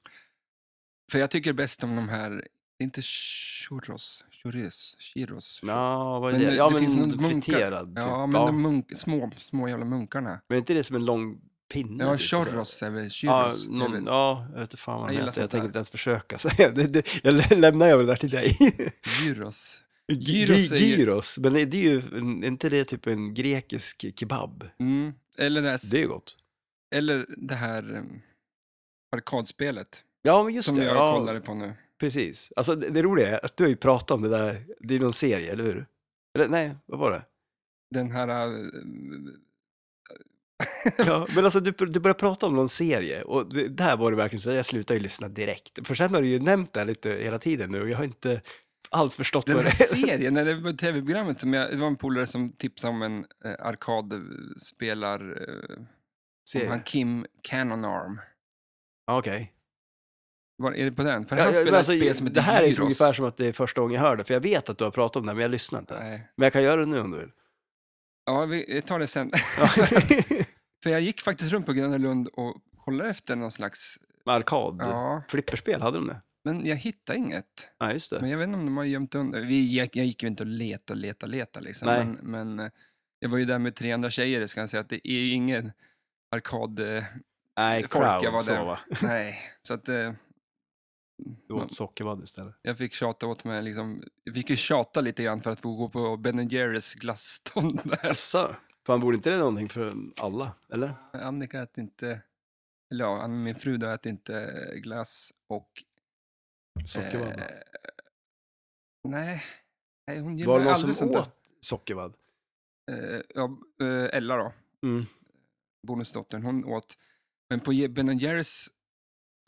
Speaker 1: För jag tycker bäst om de här, det är inte churros, churros, churros.
Speaker 2: Ja, vad är
Speaker 1: Men
Speaker 2: det?
Speaker 1: det-
Speaker 2: Ja,
Speaker 1: det finns
Speaker 2: men
Speaker 1: någon munkar-
Speaker 2: friterad. typ.
Speaker 1: Ja, men de munk, små, små jävla munkarna.
Speaker 2: men är inte det som en lång pinne?
Speaker 1: Ja,
Speaker 2: typ, så här?
Speaker 1: churros är väl
Speaker 2: Ja,
Speaker 1: churros. är väl-
Speaker 2: någon, ja, jag vet inte fan vad de
Speaker 1: Jag gillar
Speaker 2: heter.
Speaker 1: sånt
Speaker 2: Jag tänker
Speaker 1: där.
Speaker 2: inte ens försöka säga det. det jag lä- lämnar över det där till dig.
Speaker 1: Gyros.
Speaker 2: Gy-
Speaker 1: Gyros är ju-
Speaker 2: Gyros, men är det är ju, en- är inte det typ en grekisk kebab?
Speaker 1: Mm. Eller, det här,
Speaker 2: Det är gott.
Speaker 1: eller det här eh, arkadspelet.
Speaker 2: Ja, men just
Speaker 1: Som
Speaker 2: det.
Speaker 1: jag
Speaker 2: ja,
Speaker 1: kollade på nu.
Speaker 2: precis. Alltså, det, det roliga är att du har ju pratat om det där, det är någon serie, eller hur? Eller nej, vad var det?
Speaker 1: Den här... eh,
Speaker 2: Ja, men alltså du, du började prata om någon serie och det, där var det verkligen så att jag slutade ju lyssna direkt. För sen har du ju nämnt det här lite hela tiden nu och jag har inte alls förstått
Speaker 1: Den
Speaker 2: vad
Speaker 1: här
Speaker 2: det är.
Speaker 1: serien, eller det var tv-programmet, som jag, det var en polare som tipsade om en eh, arkadspelar... Eh, om han
Speaker 2: Serie.
Speaker 1: Kim Cannon Arm.
Speaker 2: Ja, Okej.
Speaker 1: Var, är det på den? För
Speaker 2: Ja,
Speaker 1: han
Speaker 2: ja,
Speaker 1: spelar
Speaker 2: men alltså,
Speaker 1: ett spel som heter
Speaker 2: det här är
Speaker 1: Gyros.
Speaker 2: så ungefär som att det är första gången jag hör det, för jag vet att du har pratat om det, men jag lyssnar inte.
Speaker 1: Nej.
Speaker 2: Men jag kan göra det nu om du vill.
Speaker 1: Ja, vi tar det sen.
Speaker 2: Ja.
Speaker 1: För jag gick faktiskt runt på Gröna Lund och kollade efter någon slags
Speaker 2: Med arkad.
Speaker 1: Ja,
Speaker 2: Flipperspel, hade de det?
Speaker 1: men jag hittade inget.
Speaker 2: Ja, just det.
Speaker 1: Men jag vet inte om de har gömt undan. Vi, jag, jag gick ju inte och leta, leta, leta liksom.
Speaker 2: Nej.
Speaker 1: Men, men eh, jag var ju där med 300 tjejer, ska jag säga att det är ju ingen arkad... eh,
Speaker 2: Nej,
Speaker 1: folk
Speaker 2: crowd
Speaker 1: jag var
Speaker 2: så
Speaker 1: där.
Speaker 2: va.
Speaker 1: Nej, så att eh,
Speaker 2: Du åt sockervadd istället.
Speaker 1: jag fick tjata åt mig, liksom, jag fick ju tjata lite grann för att få gå på Ben Jerrys glasstånd där.
Speaker 2: Jaså? Fan, borde inte det någonting för alla? Eller?
Speaker 1: Annika äter inte, eller ja, Ann- min fru då äter inte eh, glass och...
Speaker 2: Sockervadd.
Speaker 1: eh, nej, nej, hon gillar
Speaker 2: var det någon
Speaker 1: aldrig
Speaker 2: som
Speaker 1: sånt där.
Speaker 2: åt sockervadd?
Speaker 1: Eh, ja, eh, Ella då,
Speaker 2: Mm.
Speaker 1: bonusdottern, hon åt. Men på Je- Ben Jerrys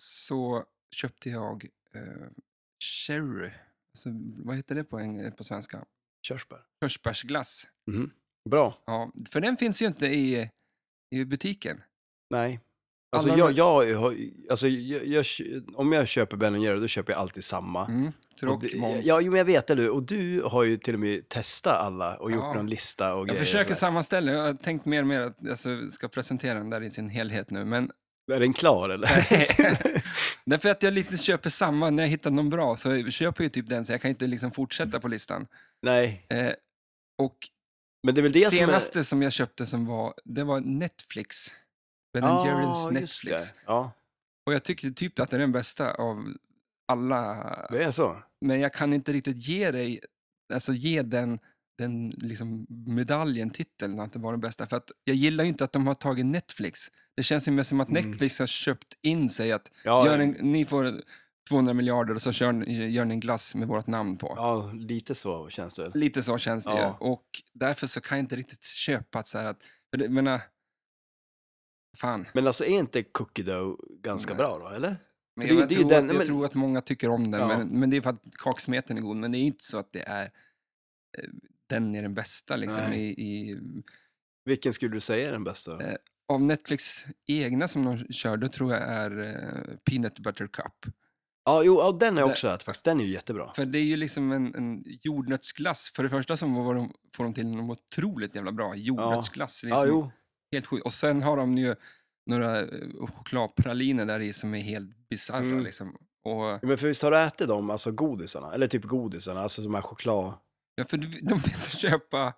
Speaker 1: så köpte jag eh, cherry, alltså, vad heter det på, eng- på svenska?
Speaker 2: Körsbär.
Speaker 1: Körsbärsglass.
Speaker 2: Mhm. Bra.
Speaker 1: Ja, för den finns ju inte i, i butiken.
Speaker 2: Nej. Alltså,
Speaker 1: Alla
Speaker 2: jag,
Speaker 1: de-
Speaker 2: jag, har- alltså jag, jag, om jag köper Ben Jerry, då köper jag alltid samma.
Speaker 1: Mm,
Speaker 2: Ah. Och
Speaker 1: tråkigt
Speaker 2: det-
Speaker 1: Måns.
Speaker 2: Ja, jo, men jag vet, eller hur? Och du har ju till och med testat alla och gjort
Speaker 1: Ja.
Speaker 2: någon lista och
Speaker 1: Jag
Speaker 2: grejer. och
Speaker 1: försöker
Speaker 2: sådär.
Speaker 1: sammanställa, jag har tänkt mer och mer att jag alltså, ska presentera den där i sin helhet nu. Men
Speaker 2: Är den klar eller?
Speaker 1: därför att jag lite köper samma, när jag hittar någon bra så köper jag ju typ den så jag kan inte liksom fortsätta på listan.
Speaker 2: Nej,
Speaker 1: Eh, och
Speaker 2: men det är alltså väl det
Speaker 1: senaste
Speaker 2: som
Speaker 1: som, jag köpte som var, det var Netflix. Ben
Speaker 2: är...
Speaker 1: Jerrys
Speaker 2: Ja, Ah, just
Speaker 1: Netflix.
Speaker 2: det. Ja,
Speaker 1: Och jag tyckte typ att det är den bästa av alla.
Speaker 2: det är så.
Speaker 1: Men jag kan inte riktigt ge dig, alltså ge den, den liksom medaljen, titeln, att det var den bästa. För att jag gillar ju inte att de har tagit Netflix. Det känns ju mer som att
Speaker 2: Mm.
Speaker 1: Netflix har köpt in sig att
Speaker 2: Ja,
Speaker 1: gör en, ni får 200 miljarder och så kör, ni- gör ni en glass med vårt namn på.
Speaker 2: ja, lite så känns det väl.
Speaker 1: Lite så känns det ju.
Speaker 2: Ja.
Speaker 1: Och därför så kan jag inte riktigt köpa att så här att, för det- jag menar, fan.
Speaker 2: Men alltså är inte Cookie Dough ganska
Speaker 1: Nej.
Speaker 2: bra då, eller?
Speaker 1: Men
Speaker 2: det-
Speaker 1: jag,
Speaker 2: det är ju
Speaker 1: tror
Speaker 2: den-
Speaker 1: att, jag
Speaker 2: men-
Speaker 1: tror att många tycker om den,
Speaker 2: Ja.
Speaker 1: men, men det är för att kaksmeten är god. Men det är inte så att det är eh, den är den bästa liksom.
Speaker 2: Nej.
Speaker 1: I, i,
Speaker 2: Vilken skulle du säga är den bästa?
Speaker 1: Eh, av Netflix egna som de kör, då tror jag är eh, Peanut Butter Cup.
Speaker 2: Ja, jo, ja, den har jag också ätit faktiskt. Den är ju jättebra.
Speaker 1: För det är ju liksom en, en jordnötsglass. För det första så var de, får de till något otroligt jävla bra jordnötsglass. Liksom,
Speaker 2: Ja, jo.
Speaker 1: Helt sjukt. Och sen har de ju några eh, chokladpraliner där i som är helt bisarra
Speaker 2: Mm.
Speaker 1: liksom. Och,
Speaker 2: Men för visst har du ätit dem, alltså godisarna? Eller typ godisarna, alltså de här choklad...
Speaker 1: ja, för de- de finns att köpa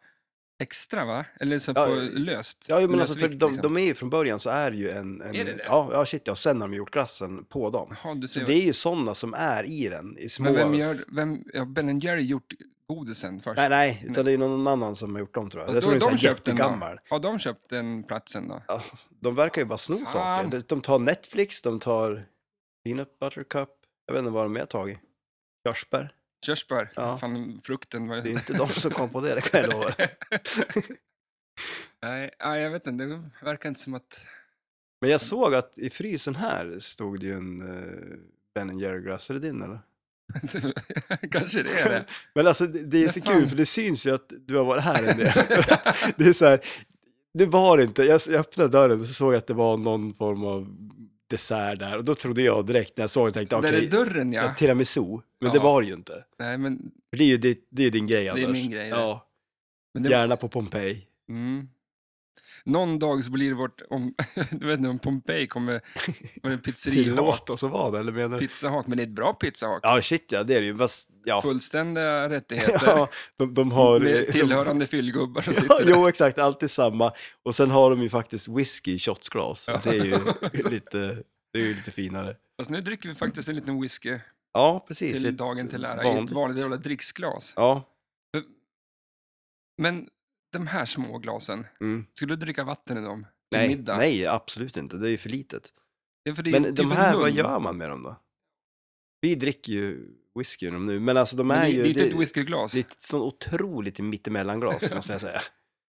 Speaker 1: extra va? Eller så
Speaker 2: Ja,
Speaker 1: på
Speaker 2: ja,
Speaker 1: löst.
Speaker 2: Ja, jo, men alltså, för
Speaker 1: lösvikt,
Speaker 2: de,
Speaker 1: liksom.
Speaker 2: de är ju från början så är det ju en... en
Speaker 1: Är det det?
Speaker 2: Ja, ja, shit ja. Sen har de gjort glassen på dem.
Speaker 1: Jaha, du
Speaker 2: Så
Speaker 1: ser
Speaker 2: det är ju sådana som är i den, i små...
Speaker 1: Men vem gör, vem, ja, Ben Jerry gjort godisen först?
Speaker 2: Nej, nej, utan det är ju någon annan som har gjort dem tror jag.
Speaker 1: Fast
Speaker 2: jag
Speaker 1: då har
Speaker 2: tror det är
Speaker 1: de
Speaker 2: så här
Speaker 1: köpt den då?
Speaker 2: jättegammal.
Speaker 1: Har de köpt den platsen då?
Speaker 2: Ja, de verkar ju bara sno
Speaker 1: Fan.
Speaker 2: saker. De tar Netflix, de tar Peanut Butter Cup. Jag vet inte vad de mer tagit. Körsbär.
Speaker 1: Körsbär?
Speaker 2: Ja.
Speaker 1: Fan, frukten var
Speaker 2: Det är inte de som kom på det, det kan jag lova.
Speaker 1: Nej, nej, jag vet inte. Det verkar inte som att...
Speaker 2: Men jag såg att i frysen här stod det ju en uh, Ben Jerry-glass. Är det din eller?
Speaker 1: Kanske det är det.
Speaker 2: Men alltså det, det är
Speaker 1: Men
Speaker 2: så
Speaker 1: fan.
Speaker 2: kul för det syns ju att du har varit här en del. För att det är så här, det var inte, jag, jag öppnade dörren och så såg jag att det var någon form av dessert där och då trodde jag direkt när jag såg det tänkte okej,
Speaker 1: Där är dörren ja.
Speaker 2: ja, tiramisu, men det
Speaker 1: Ja.
Speaker 2: var det ju inte.
Speaker 1: Nej, men,
Speaker 2: För det är ju det, det är din grej
Speaker 1: är
Speaker 2: Anders.
Speaker 1: min grej, det.
Speaker 2: Ja,
Speaker 1: men det,
Speaker 2: gärna på Pompeji.
Speaker 1: mm. Någon dag så blir det vårt... Om, du vet inte om Pompeji kommer... Var det en pizzeria?
Speaker 2: Tillåt oss att vara det, eller menar du?
Speaker 1: Pizzahak, men det är ett bra pizzahak.
Speaker 2: Ja, shit ja, det är det ju. Fast, ja.
Speaker 1: Fullständiga rättigheter.
Speaker 2: ja, de, de har...
Speaker 1: Med tillhörande fyllgubbar som
Speaker 2: Ja,
Speaker 1: sitter där.
Speaker 2: jo, exakt. Alltid samma. Och sen har de ju faktiskt whisky i shotsglas.
Speaker 1: Ja.
Speaker 2: Det är ju lite, det är ju lite finare.
Speaker 1: Fast nu dricker vi faktiskt en liten whisky
Speaker 2: Ja, precis.
Speaker 1: till
Speaker 2: Ett
Speaker 1: dagen till ära i ett
Speaker 2: vanligt-
Speaker 1: vanligt jävla dricksglas.
Speaker 2: Ja,
Speaker 1: Men de här små glasen,
Speaker 2: mm.
Speaker 1: skulle du dricka vatten i dem till
Speaker 2: nej,
Speaker 1: middag?
Speaker 2: nej, absolut inte. Det är ju för litet.
Speaker 1: Ja, för det är
Speaker 2: Men
Speaker 1: typ
Speaker 2: de
Speaker 1: en
Speaker 2: här,
Speaker 1: lugn.
Speaker 2: vad gör man med dem då? Vi dricker ju whisky i dem nu, men alltså de
Speaker 1: Men
Speaker 2: är
Speaker 1: det,
Speaker 2: ju...
Speaker 1: det är typ inte ett whiskyglas.
Speaker 2: det är ett sånt otroligt mittemellanglas, måste jag säga.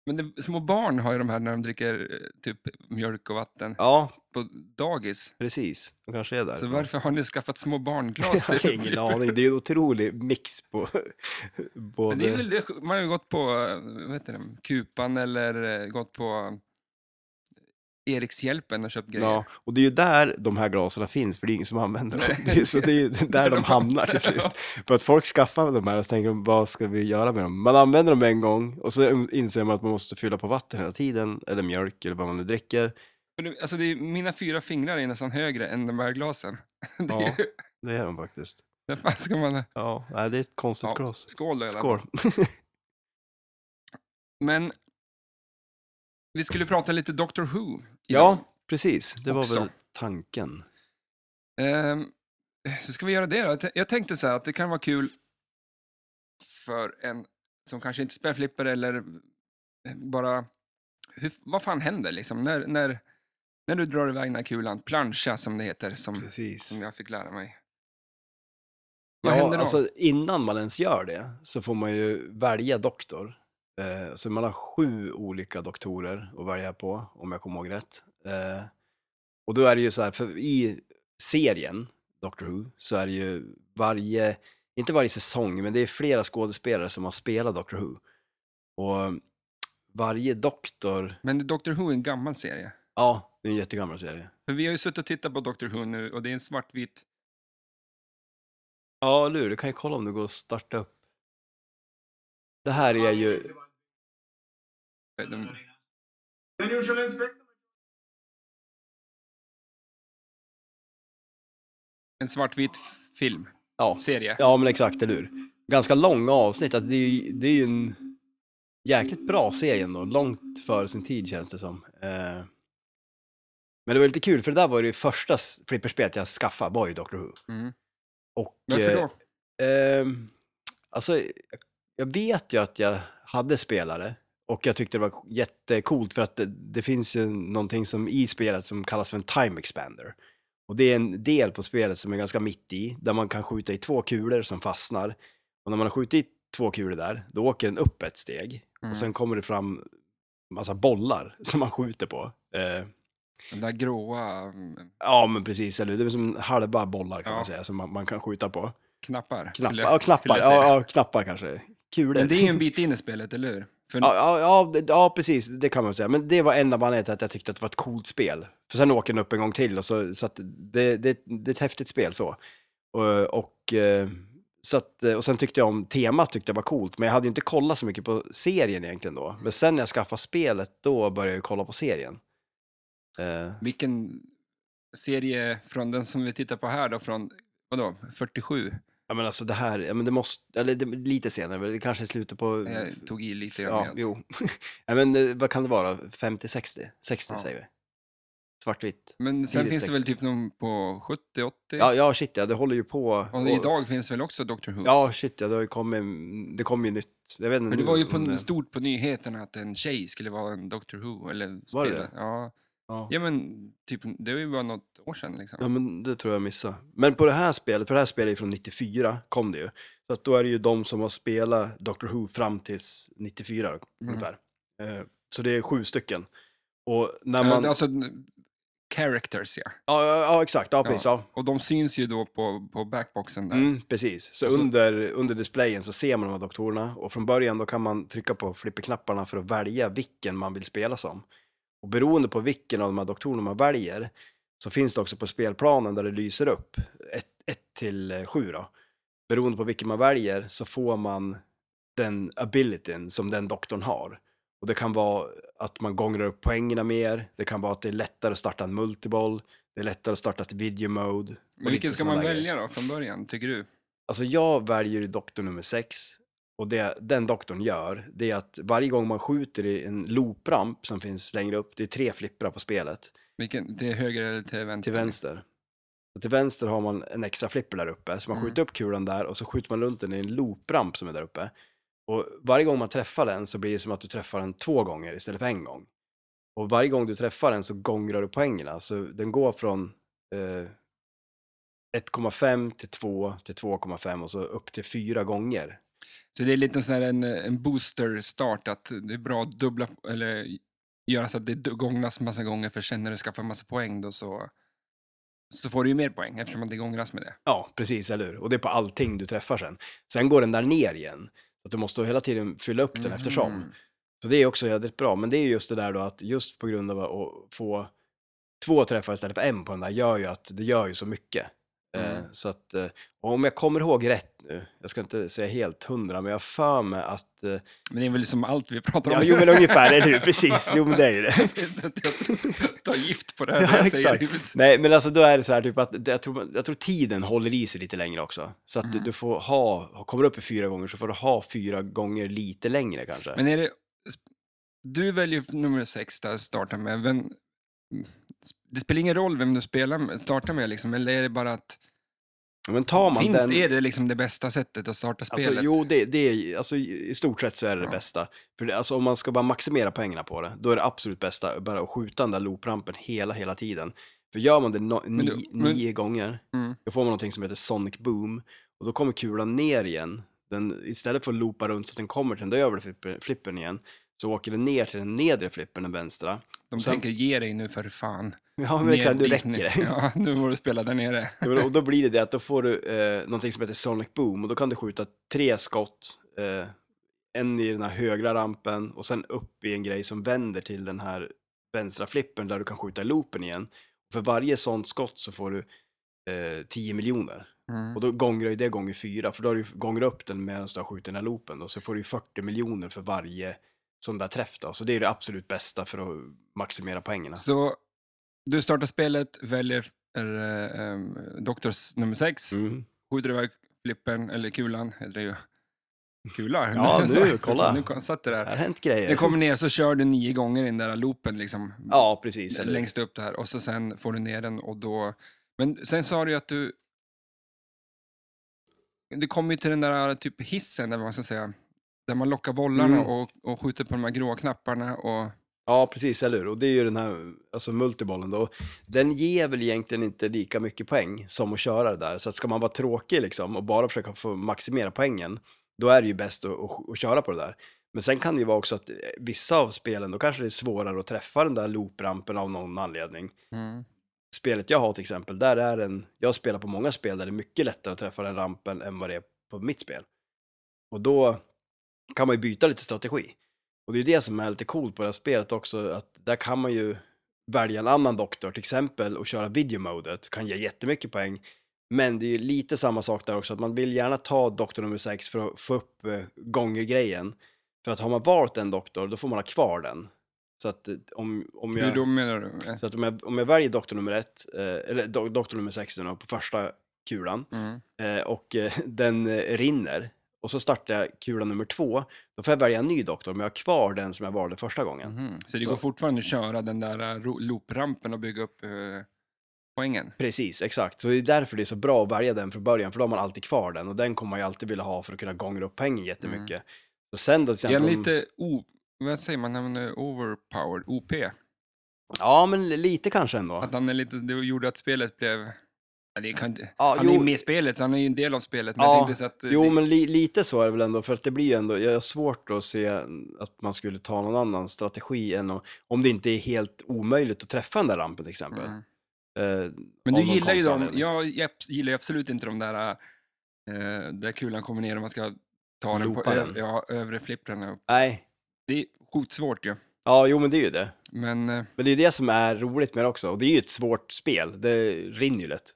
Speaker 1: Men det, små barn har ju de här när de dricker eh, typ mjölk och vatten
Speaker 2: Ja,
Speaker 1: på dagis.
Speaker 2: precis. De kanske är där.
Speaker 1: Så varför har ni skaffat små barnglas?
Speaker 2: Jag har
Speaker 1: till-
Speaker 2: ingen aning. Det är en otrolig mix på både...
Speaker 1: Men det är väl det, man har ju gått på eh, vad heter det, Kupan eller eh, gått på eh, Erikshjälpen och köpt grejer.
Speaker 2: Ja, och det är ju där de här glasen finns, för det är ingen som använder dem.
Speaker 1: Nej.
Speaker 2: Det är, så det är ju där de hamnar till slut.
Speaker 1: Ja.
Speaker 2: För att folk skaffar de här och så tänker de, vad ska vi göra med dem? Man använder dem en gång och så inser man att man måste fylla på vatten hela tiden, eller mjölk eller vad man nu dricker.
Speaker 1: Men det- Alltså det är, mina fyra fingrar är nästan högre än de här glasen. Det är
Speaker 2: Ja.
Speaker 1: ju-
Speaker 2: Det är de faktiskt.
Speaker 1: Där fan ska man...
Speaker 2: Ja, nej, det är ett konstigt
Speaker 1: Ja.
Speaker 2: glas.
Speaker 1: Skål då, i alla fall.
Speaker 2: Skål.
Speaker 1: Men vi skulle prata lite Doctor Who. idag.
Speaker 2: Ja, precis. Det var
Speaker 1: Också.
Speaker 2: väl tanken.
Speaker 1: Ehm, så ska vi göra det då? Jag tän- Jag tänkte så här att det kan vara kul för en som kanske inte spelar flipper eller eh, bara, hur, vad fan händer liksom? När, när, när du drar iväg den här kulan, plancha som det heter, som,
Speaker 2: Precis.
Speaker 1: som jag fick lära mig. Vad händer
Speaker 2: Ja,
Speaker 1: då?
Speaker 2: alltså innan man ens gör det så får man ju välja doktor. Eh, så man har sju olika doktorer att välja på, om jag kommer ihåg rätt. Eh, och då är det ju så här, för i serien Doctor Who så är det ju varje, inte varje säsong, men det är flera skådespelare som har spelat Doctor Who. Och varje doktor,
Speaker 1: Men Doctor Who är en gammal serie.
Speaker 2: ja, det är en jättegammal serie.
Speaker 1: För vi har ju suttit och tittat på Doctor Who nu och det är en svartvit...
Speaker 2: Ja, eller hur? Du kan ju kolla om det går att starta upp. Det här är ju...
Speaker 1: eh, de-
Speaker 3: Then you shall inspect the
Speaker 1: En svartvit f- film,
Speaker 2: Ja,
Speaker 1: serie.
Speaker 2: Ja, men exakt, eller hur? Ganska långa avsnitt. Att det, är ju, det är ju en jäkligt bra serie ändå. Långt före sin tid känns det som. Eh, Men det var lite kul, för det där var ju det första s- flipperspelet jag skaffade, var ju Doctor Who.
Speaker 1: Mm.
Speaker 2: Och,
Speaker 1: Varför då?
Speaker 2: eh, ehm, alltså, jag vet ju att jag hade spelare och jag tyckte det var jättecoolt för att det, det finns ju någonting som i spelet som kallas för en time expander. Och det är en del på spelet som är ganska mitt i, där man kan skjuta i två kulor som fastnar. Och när man har skjutit två kulor där, då åker den upp ett steg.
Speaker 1: Mm.
Speaker 2: Och sen kommer det fram massa bollar som man skjuter på. Eh,
Speaker 1: Den där gråa mm,
Speaker 2: ja, men precis, eller hur? Det är som halva bollar kan
Speaker 1: Ja.
Speaker 2: man säga, som man, man kan skjuta på.
Speaker 1: knappar.
Speaker 2: Knappar,
Speaker 1: skulle-
Speaker 2: ja,
Speaker 1: skulle
Speaker 2: knappar,
Speaker 1: jag säga.
Speaker 2: ja, ja, knappar kanske. Kulor.
Speaker 1: Men det är ju en bit in i spelet, eller hur? För
Speaker 2: Ja, ja, ja, det- ja, precis. Det kan man säga. Men det var enda anledningen till att jag tyckte att det var ett coolt spel. För sen åker den upp en gång till, och så, så att det, det, det är ett häftigt spel så. Och, och, eh, så att, och sen tyckte jag om temat, tyckte jag var coolt. Men jag hade ju inte kollat så mycket på serien egentligen då. Men sen när jag skaffade spelet, då började jag ju kolla på serien. Eh,
Speaker 1: vilken serie från den som vi tittar på här då, från vadå, 47?
Speaker 2: ja, men alltså det här, ja, men det måste, eller det, lite senare, men det kanske är slutet på...
Speaker 1: Jag Eh, tog i lite grann.
Speaker 2: Ja,
Speaker 1: igen.
Speaker 2: jo. ja, men eh, vad kan det vara? 50-60? 60
Speaker 1: Ja.
Speaker 2: säger vi. Svartvitt.
Speaker 1: Men sen
Speaker 2: tidigt
Speaker 1: finns det väl
Speaker 2: 60.
Speaker 1: typ någon på 70, 80?
Speaker 2: Ja, ja, shit ja, det håller ju på.
Speaker 1: och idag finns väl också Doctor Who?
Speaker 2: Ja, shit ja, det har ju kommit, det kommer ju nytt. Jag vet inte.
Speaker 1: Men det var ju på,
Speaker 2: om det-
Speaker 1: stort på nyheterna att en tjej skulle vara en Doctor Who. Eller
Speaker 2: Var det
Speaker 1: spela.
Speaker 2: det?
Speaker 1: Ja.
Speaker 2: Ja.
Speaker 1: ja, men typ, det var ju bara något år sedan liksom.
Speaker 2: ja, men det tror jag missade. Men på det här spelet, för det här spelet är från 94, kom det ju. Så att då är det ju de som har spelat Doctor Who fram tills 94
Speaker 1: Mm.
Speaker 2: ungefär. Eh, Så det är sju stycken. Och när man...
Speaker 1: Ja,
Speaker 2: Ja,
Speaker 1: Alltså, characters ja.
Speaker 2: ja, ja exakt. Ja, precis. Ja.
Speaker 1: Och de syns ju då på, på backboxen där. Alltså-
Speaker 2: Mm, precis. Så,
Speaker 1: Och så-
Speaker 2: Under, under displayen så ser man de här doktorerna och från början då kan man trycka på flipperknapparna för att välja vilken man vill spela som. Och beroende på vilken av de här doktorerna man väljer så finns det också på spelplanen där det lyser upp 1 till eh, sju då. Beroende på vilken man väljer så får man den abilityn som den doktorn har. Och det kan vara att man gångrar upp poängerna mer, det kan vara att det är lättare att starta en multiboll, det är lättare att starta ett video mode. och
Speaker 1: Men vilken
Speaker 2: lite
Speaker 1: ska
Speaker 2: såna
Speaker 1: man
Speaker 2: där grejer.
Speaker 1: välja då från början, tycker du?
Speaker 2: Alltså jag väljer doktor nummer sex och det den doktorn gör det är att varje gång man skjuter i en loopramp som finns längre upp, det är tre flipprar på spelet,
Speaker 1: Vilken, till höger eller till vänster?
Speaker 2: till vänster. Och till vänster har man en extra flipper där uppe, så man
Speaker 1: Mm.
Speaker 2: skjuter upp kulan där och så skjuter man runt den i en loopramp som är där uppe. Och varje gång man träffar den så blir det som att du träffar den två gånger istället för en gång. Och varje gång du träffar den så gångrar du poängerna, så den går från eh, 1,5 till 2 till 2,5 och så upp till fyra gånger
Speaker 1: Så det är lite sån här en, en booster-start, att det är bra att dubbla, eller göra så att det du- gångras massa gånger, för sen när du skaffar massa poäng då så, så får du ju mer poäng eftersom att det gångras med det.
Speaker 2: Ja, precis, eller hur? Och det är på allting du träffar sen. Sen går den där ner igen. Så att du måste hela tiden fylla upp den eftersom.
Speaker 1: Mhm.
Speaker 2: Så det är också jädrigt bra. Men det är just det där då att just på grund av att få två träffar istället för en på den där gör ju att det gör ju så mycket. Eh,
Speaker 1: Mm.
Speaker 2: Så att, eh, och om jag kommer ihåg rätt nu, jag ska inte säga helt hundra, men jag har för mig att... eh,
Speaker 1: Men det är väl liksom allt vi pratar om.
Speaker 2: Ja, jo men ungefär, eller hur? Precis, jo men det är ju det.
Speaker 1: Ta gift på det här
Speaker 2: Ja,
Speaker 1: när jag säger
Speaker 2: exakt.
Speaker 1: det.
Speaker 2: Nej, men alltså då är det så här typ att det- jag tror, jag tror tiden håller i sig lite längre också. Så att du,
Speaker 1: Mm.
Speaker 2: du får ha, kommer du upp i fyra gånger så får du ha fyra gånger lite längre kanske.
Speaker 1: Men är det... Du väljer nummer sex där att starta med. Vem... mm, Det spelar ingen roll vem du spelar med, startar med, liksom, eller är det bara att...
Speaker 2: Men tar man
Speaker 1: finns
Speaker 2: den...
Speaker 1: det, är det liksom det bästa sättet att starta spelet?
Speaker 2: Alltså, jo, det, det är, alltså, i stort sett så är det det bästa. För det, alltså, om man ska bara maximera poängerna på det, då är det absolut bästa bara att skjuta den där looprampen hela, hela tiden. För gör man det no, ni,
Speaker 1: du- men-
Speaker 2: nio gånger,
Speaker 1: Mm.
Speaker 2: då får man någonting som heter Sonic Boom. Och då kommer kulan ner igen. Den, istället för att loopa runt så att den kommer till den där övre flippen, flippen igen, så åker den ner till den nedre flippen, den vänstra.
Speaker 1: De
Speaker 2: sen-
Speaker 1: tänker ge dig nu för fan.
Speaker 2: Ja, men det är klart, nu
Speaker 1: Ner dit
Speaker 2: räcker
Speaker 1: nu.
Speaker 2: det.
Speaker 1: Ja, nu får du spela där nere.
Speaker 2: Ja, men- Och då blir det det att då får du eh, någonting som heter Sonic Boom och då kan du skjuta tre skott, eh, en i den här högra rampen och sen upp i en grej som vänder till den här vänstra flippen där du kan skjuta i loopen igen. För varje sånt skott så får du eh, 10 miljoner
Speaker 1: Mm.
Speaker 2: och då gånger ju det gånger fyra för då har du gånger upp den medan du har skjutit den här loopen och så får du ju 40 miljoner för varje sån där träff då. Så det är det absolut bästa för att maximera poängerna.
Speaker 1: Så du startar spelet, väljer äh, Doktors nummer 6,
Speaker 2: Mm.
Speaker 1: skjuter iväg flippen, eller kulan, heter det ju. Kula?
Speaker 2: Ja, nu,
Speaker 1: Så-
Speaker 2: kolla.
Speaker 1: Nu satt det
Speaker 2: Det har
Speaker 1: där.
Speaker 2: hänt grejer.
Speaker 1: Det kommer ner så kör du nio gånger i den där loopen liksom.
Speaker 2: Ja, precis. eller-
Speaker 1: längst upp där och så sen får du ner den och då... Men sen sa du ju att du... Du kommer ju till den där typ hissen, där man, ska säga, där man lockar bollarna
Speaker 2: Mm.
Speaker 1: och, och skjuter på de här gråa knapparna och...
Speaker 2: Ja, precis, eller hur? Och det är ju den här alltså multibollen då. Den ger väl egentligen inte lika mycket poäng som att köra det där. Så att ska man vara tråkig liksom och bara försöka få maximera poängen, då är det ju bäst att, att, att köra på det där. Men sen kan det ju vara också att eh, vissa av spelen, då kanske det är svårare att träffa den där looprampen av någon anledning.
Speaker 1: Mm.
Speaker 2: Spelet jag har till exempel, där är en, jag spelar på många spel där det är mycket lättare att träffa den rampen än vad det är på mitt spel. Och då kan man ju byta lite strategi. Och det är det som är lite coolt på det här spelet också, att där kan man ju välja en annan doktor till exempel och köra videomodet, kan ge jättemycket poäng. Men det är ju lite samma sak där också, att man vill gärna ta doktor nummer 6 för att få upp eh, gånger-grejen. För att har man valt en doktor, då får man ha kvar den. Så att eh, om, om jag...
Speaker 1: Hur då menar du?
Speaker 2: Så att om jag, om jag väljer doktor nummer ett, eh, eller do, doktor nummer 16 då, på första kulan
Speaker 1: Mm.
Speaker 2: eh, och eh, den eh, rinner och så startar jag kula nummer två, då får jag välja en ny doktor men jag har kvar den som jag valde första gången.
Speaker 1: Mhm. Så det
Speaker 2: Så-
Speaker 1: går fortfarande att köra den där eh, ro- looprampen och bygga upp eh, poängen?
Speaker 2: Precis, exakt. Så det är därför det är så bra att välja den från början för då har man alltid kvar den och den kommer man ju alltid vilja ha för att kunna gångra upp pengen jättemycket. Och sen då
Speaker 1: Är
Speaker 2: till exempel...
Speaker 1: den
Speaker 2: om-
Speaker 1: lite o... Vad säger man när man är overpowered? OP?
Speaker 2: Ja, men lite kanske ändå.
Speaker 1: Att han är lite... Det gjorde att spelet blev... Ja, det kan inte...
Speaker 2: Ja,
Speaker 1: han är
Speaker 2: jo,
Speaker 1: ju med i spelet, så han är ju en del av spelet. Men
Speaker 2: Ja,
Speaker 1: jag tänkte så att... eh,
Speaker 2: Jo,
Speaker 1: det-
Speaker 2: men li, lite så är det väl ändå, för att det blir ju ändå, jag har svårt att se att man skulle ta någon annan strategi än om, om det inte är helt omöjligt att träffa den där rampen till exempel.
Speaker 1: Mm.
Speaker 2: Eh,
Speaker 1: Men du
Speaker 2: av någon
Speaker 1: gillar ju
Speaker 2: konstig
Speaker 1: dem.
Speaker 2: anledning.
Speaker 1: Jag jag abs- gillar ju absolut inte de där eh, där kulan kommer ner och man ska ta den på
Speaker 2: Loopa
Speaker 1: ö-
Speaker 2: den.
Speaker 1: ja, övre flipprarna. upp.
Speaker 2: Nej,
Speaker 1: Det är skitsvårt ju.
Speaker 2: ja, jo men det är ju det.
Speaker 1: Men... eh,
Speaker 2: Men det är det som är roligt med det också, och det är ju ett svårt spel, det rinner ju lätt.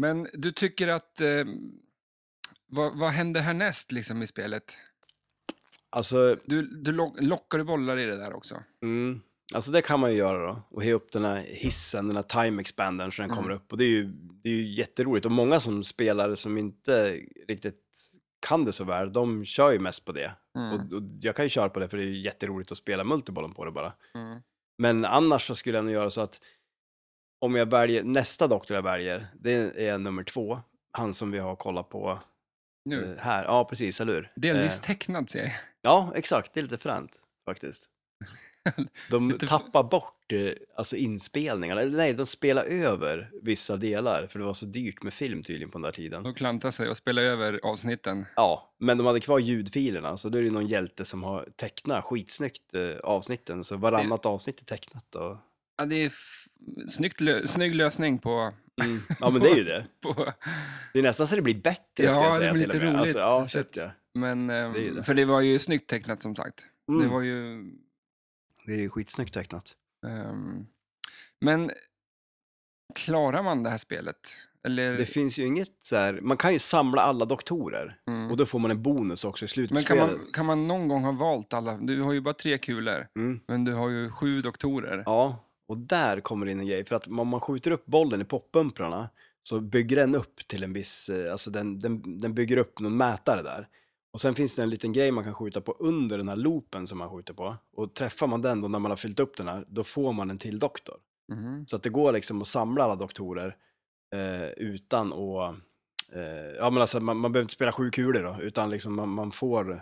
Speaker 1: Men du tycker att... Eh, vad, vad händer härnäst liksom i spelet?
Speaker 2: Alltså,
Speaker 1: Du, du lo- lockar du bollar i det där också?
Speaker 2: Mm. Alltså det kan man ju göra då, och he upp den här hissen, den här time expandern så den
Speaker 1: Mm.
Speaker 2: kommer upp. Och det är, ju, det är ju jätteroligt. Och många som spelare som inte riktigt kan det så väl, de kör ju mest på det.
Speaker 1: Mm.
Speaker 2: Och, och jag kan ju köra på det för det är ju jätteroligt att spela multibollen på det bara.
Speaker 1: Mm.
Speaker 2: Men annars så skulle jag nog göra så att om jag väljer, nästa doktor jag väljer, det är nummer två. Han som vi har kollat på
Speaker 1: Nu.
Speaker 2: eh, här. Ja, precis, eller hur?
Speaker 1: Delvis
Speaker 2: Eh,
Speaker 1: tecknad serie.
Speaker 2: Ja, exakt. Det är lite fränt faktiskt. De
Speaker 1: Lite-
Speaker 2: tappar bort eh, alltså inspelningarna, eller nej, de spelar över vissa delar för det var så dyrt med film tydligen på den där tiden.
Speaker 1: De klantar sig och spelar över avsnitten.
Speaker 2: Ja, men de hade kvar ljudfilerna så då är det någon hjälte som har tecknat skitsnyggt eh, avsnitten så varannat avsnitt är tecknat. Och...
Speaker 1: Ja, det är f- snyggt lö- snygg lösning på...
Speaker 2: mm. Ja, men det är ju det.
Speaker 1: på
Speaker 2: Det är nästan så det blir bättre ska
Speaker 1: Ja,
Speaker 2: jag
Speaker 1: det
Speaker 2: säga
Speaker 1: blir
Speaker 2: till och
Speaker 1: lite
Speaker 2: med. Alltså, ja,
Speaker 1: roligt, så
Speaker 2: shit, ja.
Speaker 1: men, eh,
Speaker 2: Det är ju det.
Speaker 1: För det var ju snyggt tecknat som sagt.
Speaker 2: Mm.
Speaker 1: Det var ju
Speaker 2: Det är ju skitsnyggt tecknat.
Speaker 1: Ehm, men ehm, Klarar man det här spelet? Eller,
Speaker 2: Det finns ju inget så här, man kan ju samla alla doktorer
Speaker 1: mm.
Speaker 2: och då får man en bonus också i slutet
Speaker 1: Men kan man, kan man någon gång ha valt alla? Du har ju bara tre kulor,
Speaker 2: Mm.
Speaker 1: men du har ju sju doktorer.
Speaker 2: Ja, och där kommer det in en grej. För att om man skjuter upp bollen i poppumprarna så bygger den upp till en viss, eh, alltså den, den, den bygger upp någon mätare där. Och sen finns det en liten grej man kan skjuta på under den här loopen som man skjuter på. Och träffar man den då när man har fyllt upp den här, då får man en till doktor.
Speaker 1: Mhm.
Speaker 2: Så att det går liksom att samla alla doktorer eh, utan att, eh, ja men alltså man, man behöver inte spela sju kulor då, utan liksom man, man får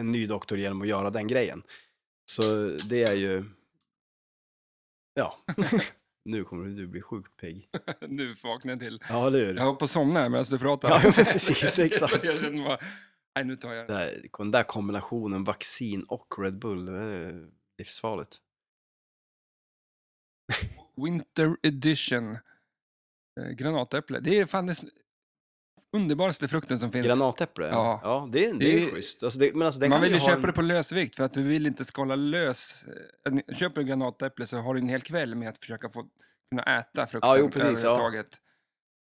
Speaker 2: en ny doktor genom att göra den grejen. Så det är ju, ja. nu kommer du bli sjukt pigg.
Speaker 1: Nu vaknar jag till.
Speaker 2: Ja, eller hur?
Speaker 1: Jag höll på att somna här medan du pratar.
Speaker 2: Ja, men precis,
Speaker 1: Så
Speaker 2: exakt.
Speaker 1: jag känner bara, nej nu tar jag
Speaker 2: Den
Speaker 1: det.
Speaker 2: där, den där kombinationen vaccin och Red Bull, det är livsfarligt.
Speaker 1: Winter edition. Eh, granatäpple. Det är fan den s- underbaraste frukten som finns.
Speaker 2: Granatäpple?
Speaker 1: Ja.
Speaker 2: ja det, är- det är
Speaker 1: Det-
Speaker 2: schysst. Alltså det, men alltså den
Speaker 1: Man
Speaker 2: kan
Speaker 1: vill ju
Speaker 2: ha
Speaker 1: köpa
Speaker 2: en...
Speaker 1: det på lösvikt för att vi vill inte skala lös. En- Köper du granatäpple så har du en hel kväll med att försöka få, kunna äta frukten
Speaker 2: Ja, jo, precis, ja.
Speaker 1: överhuvudtaget.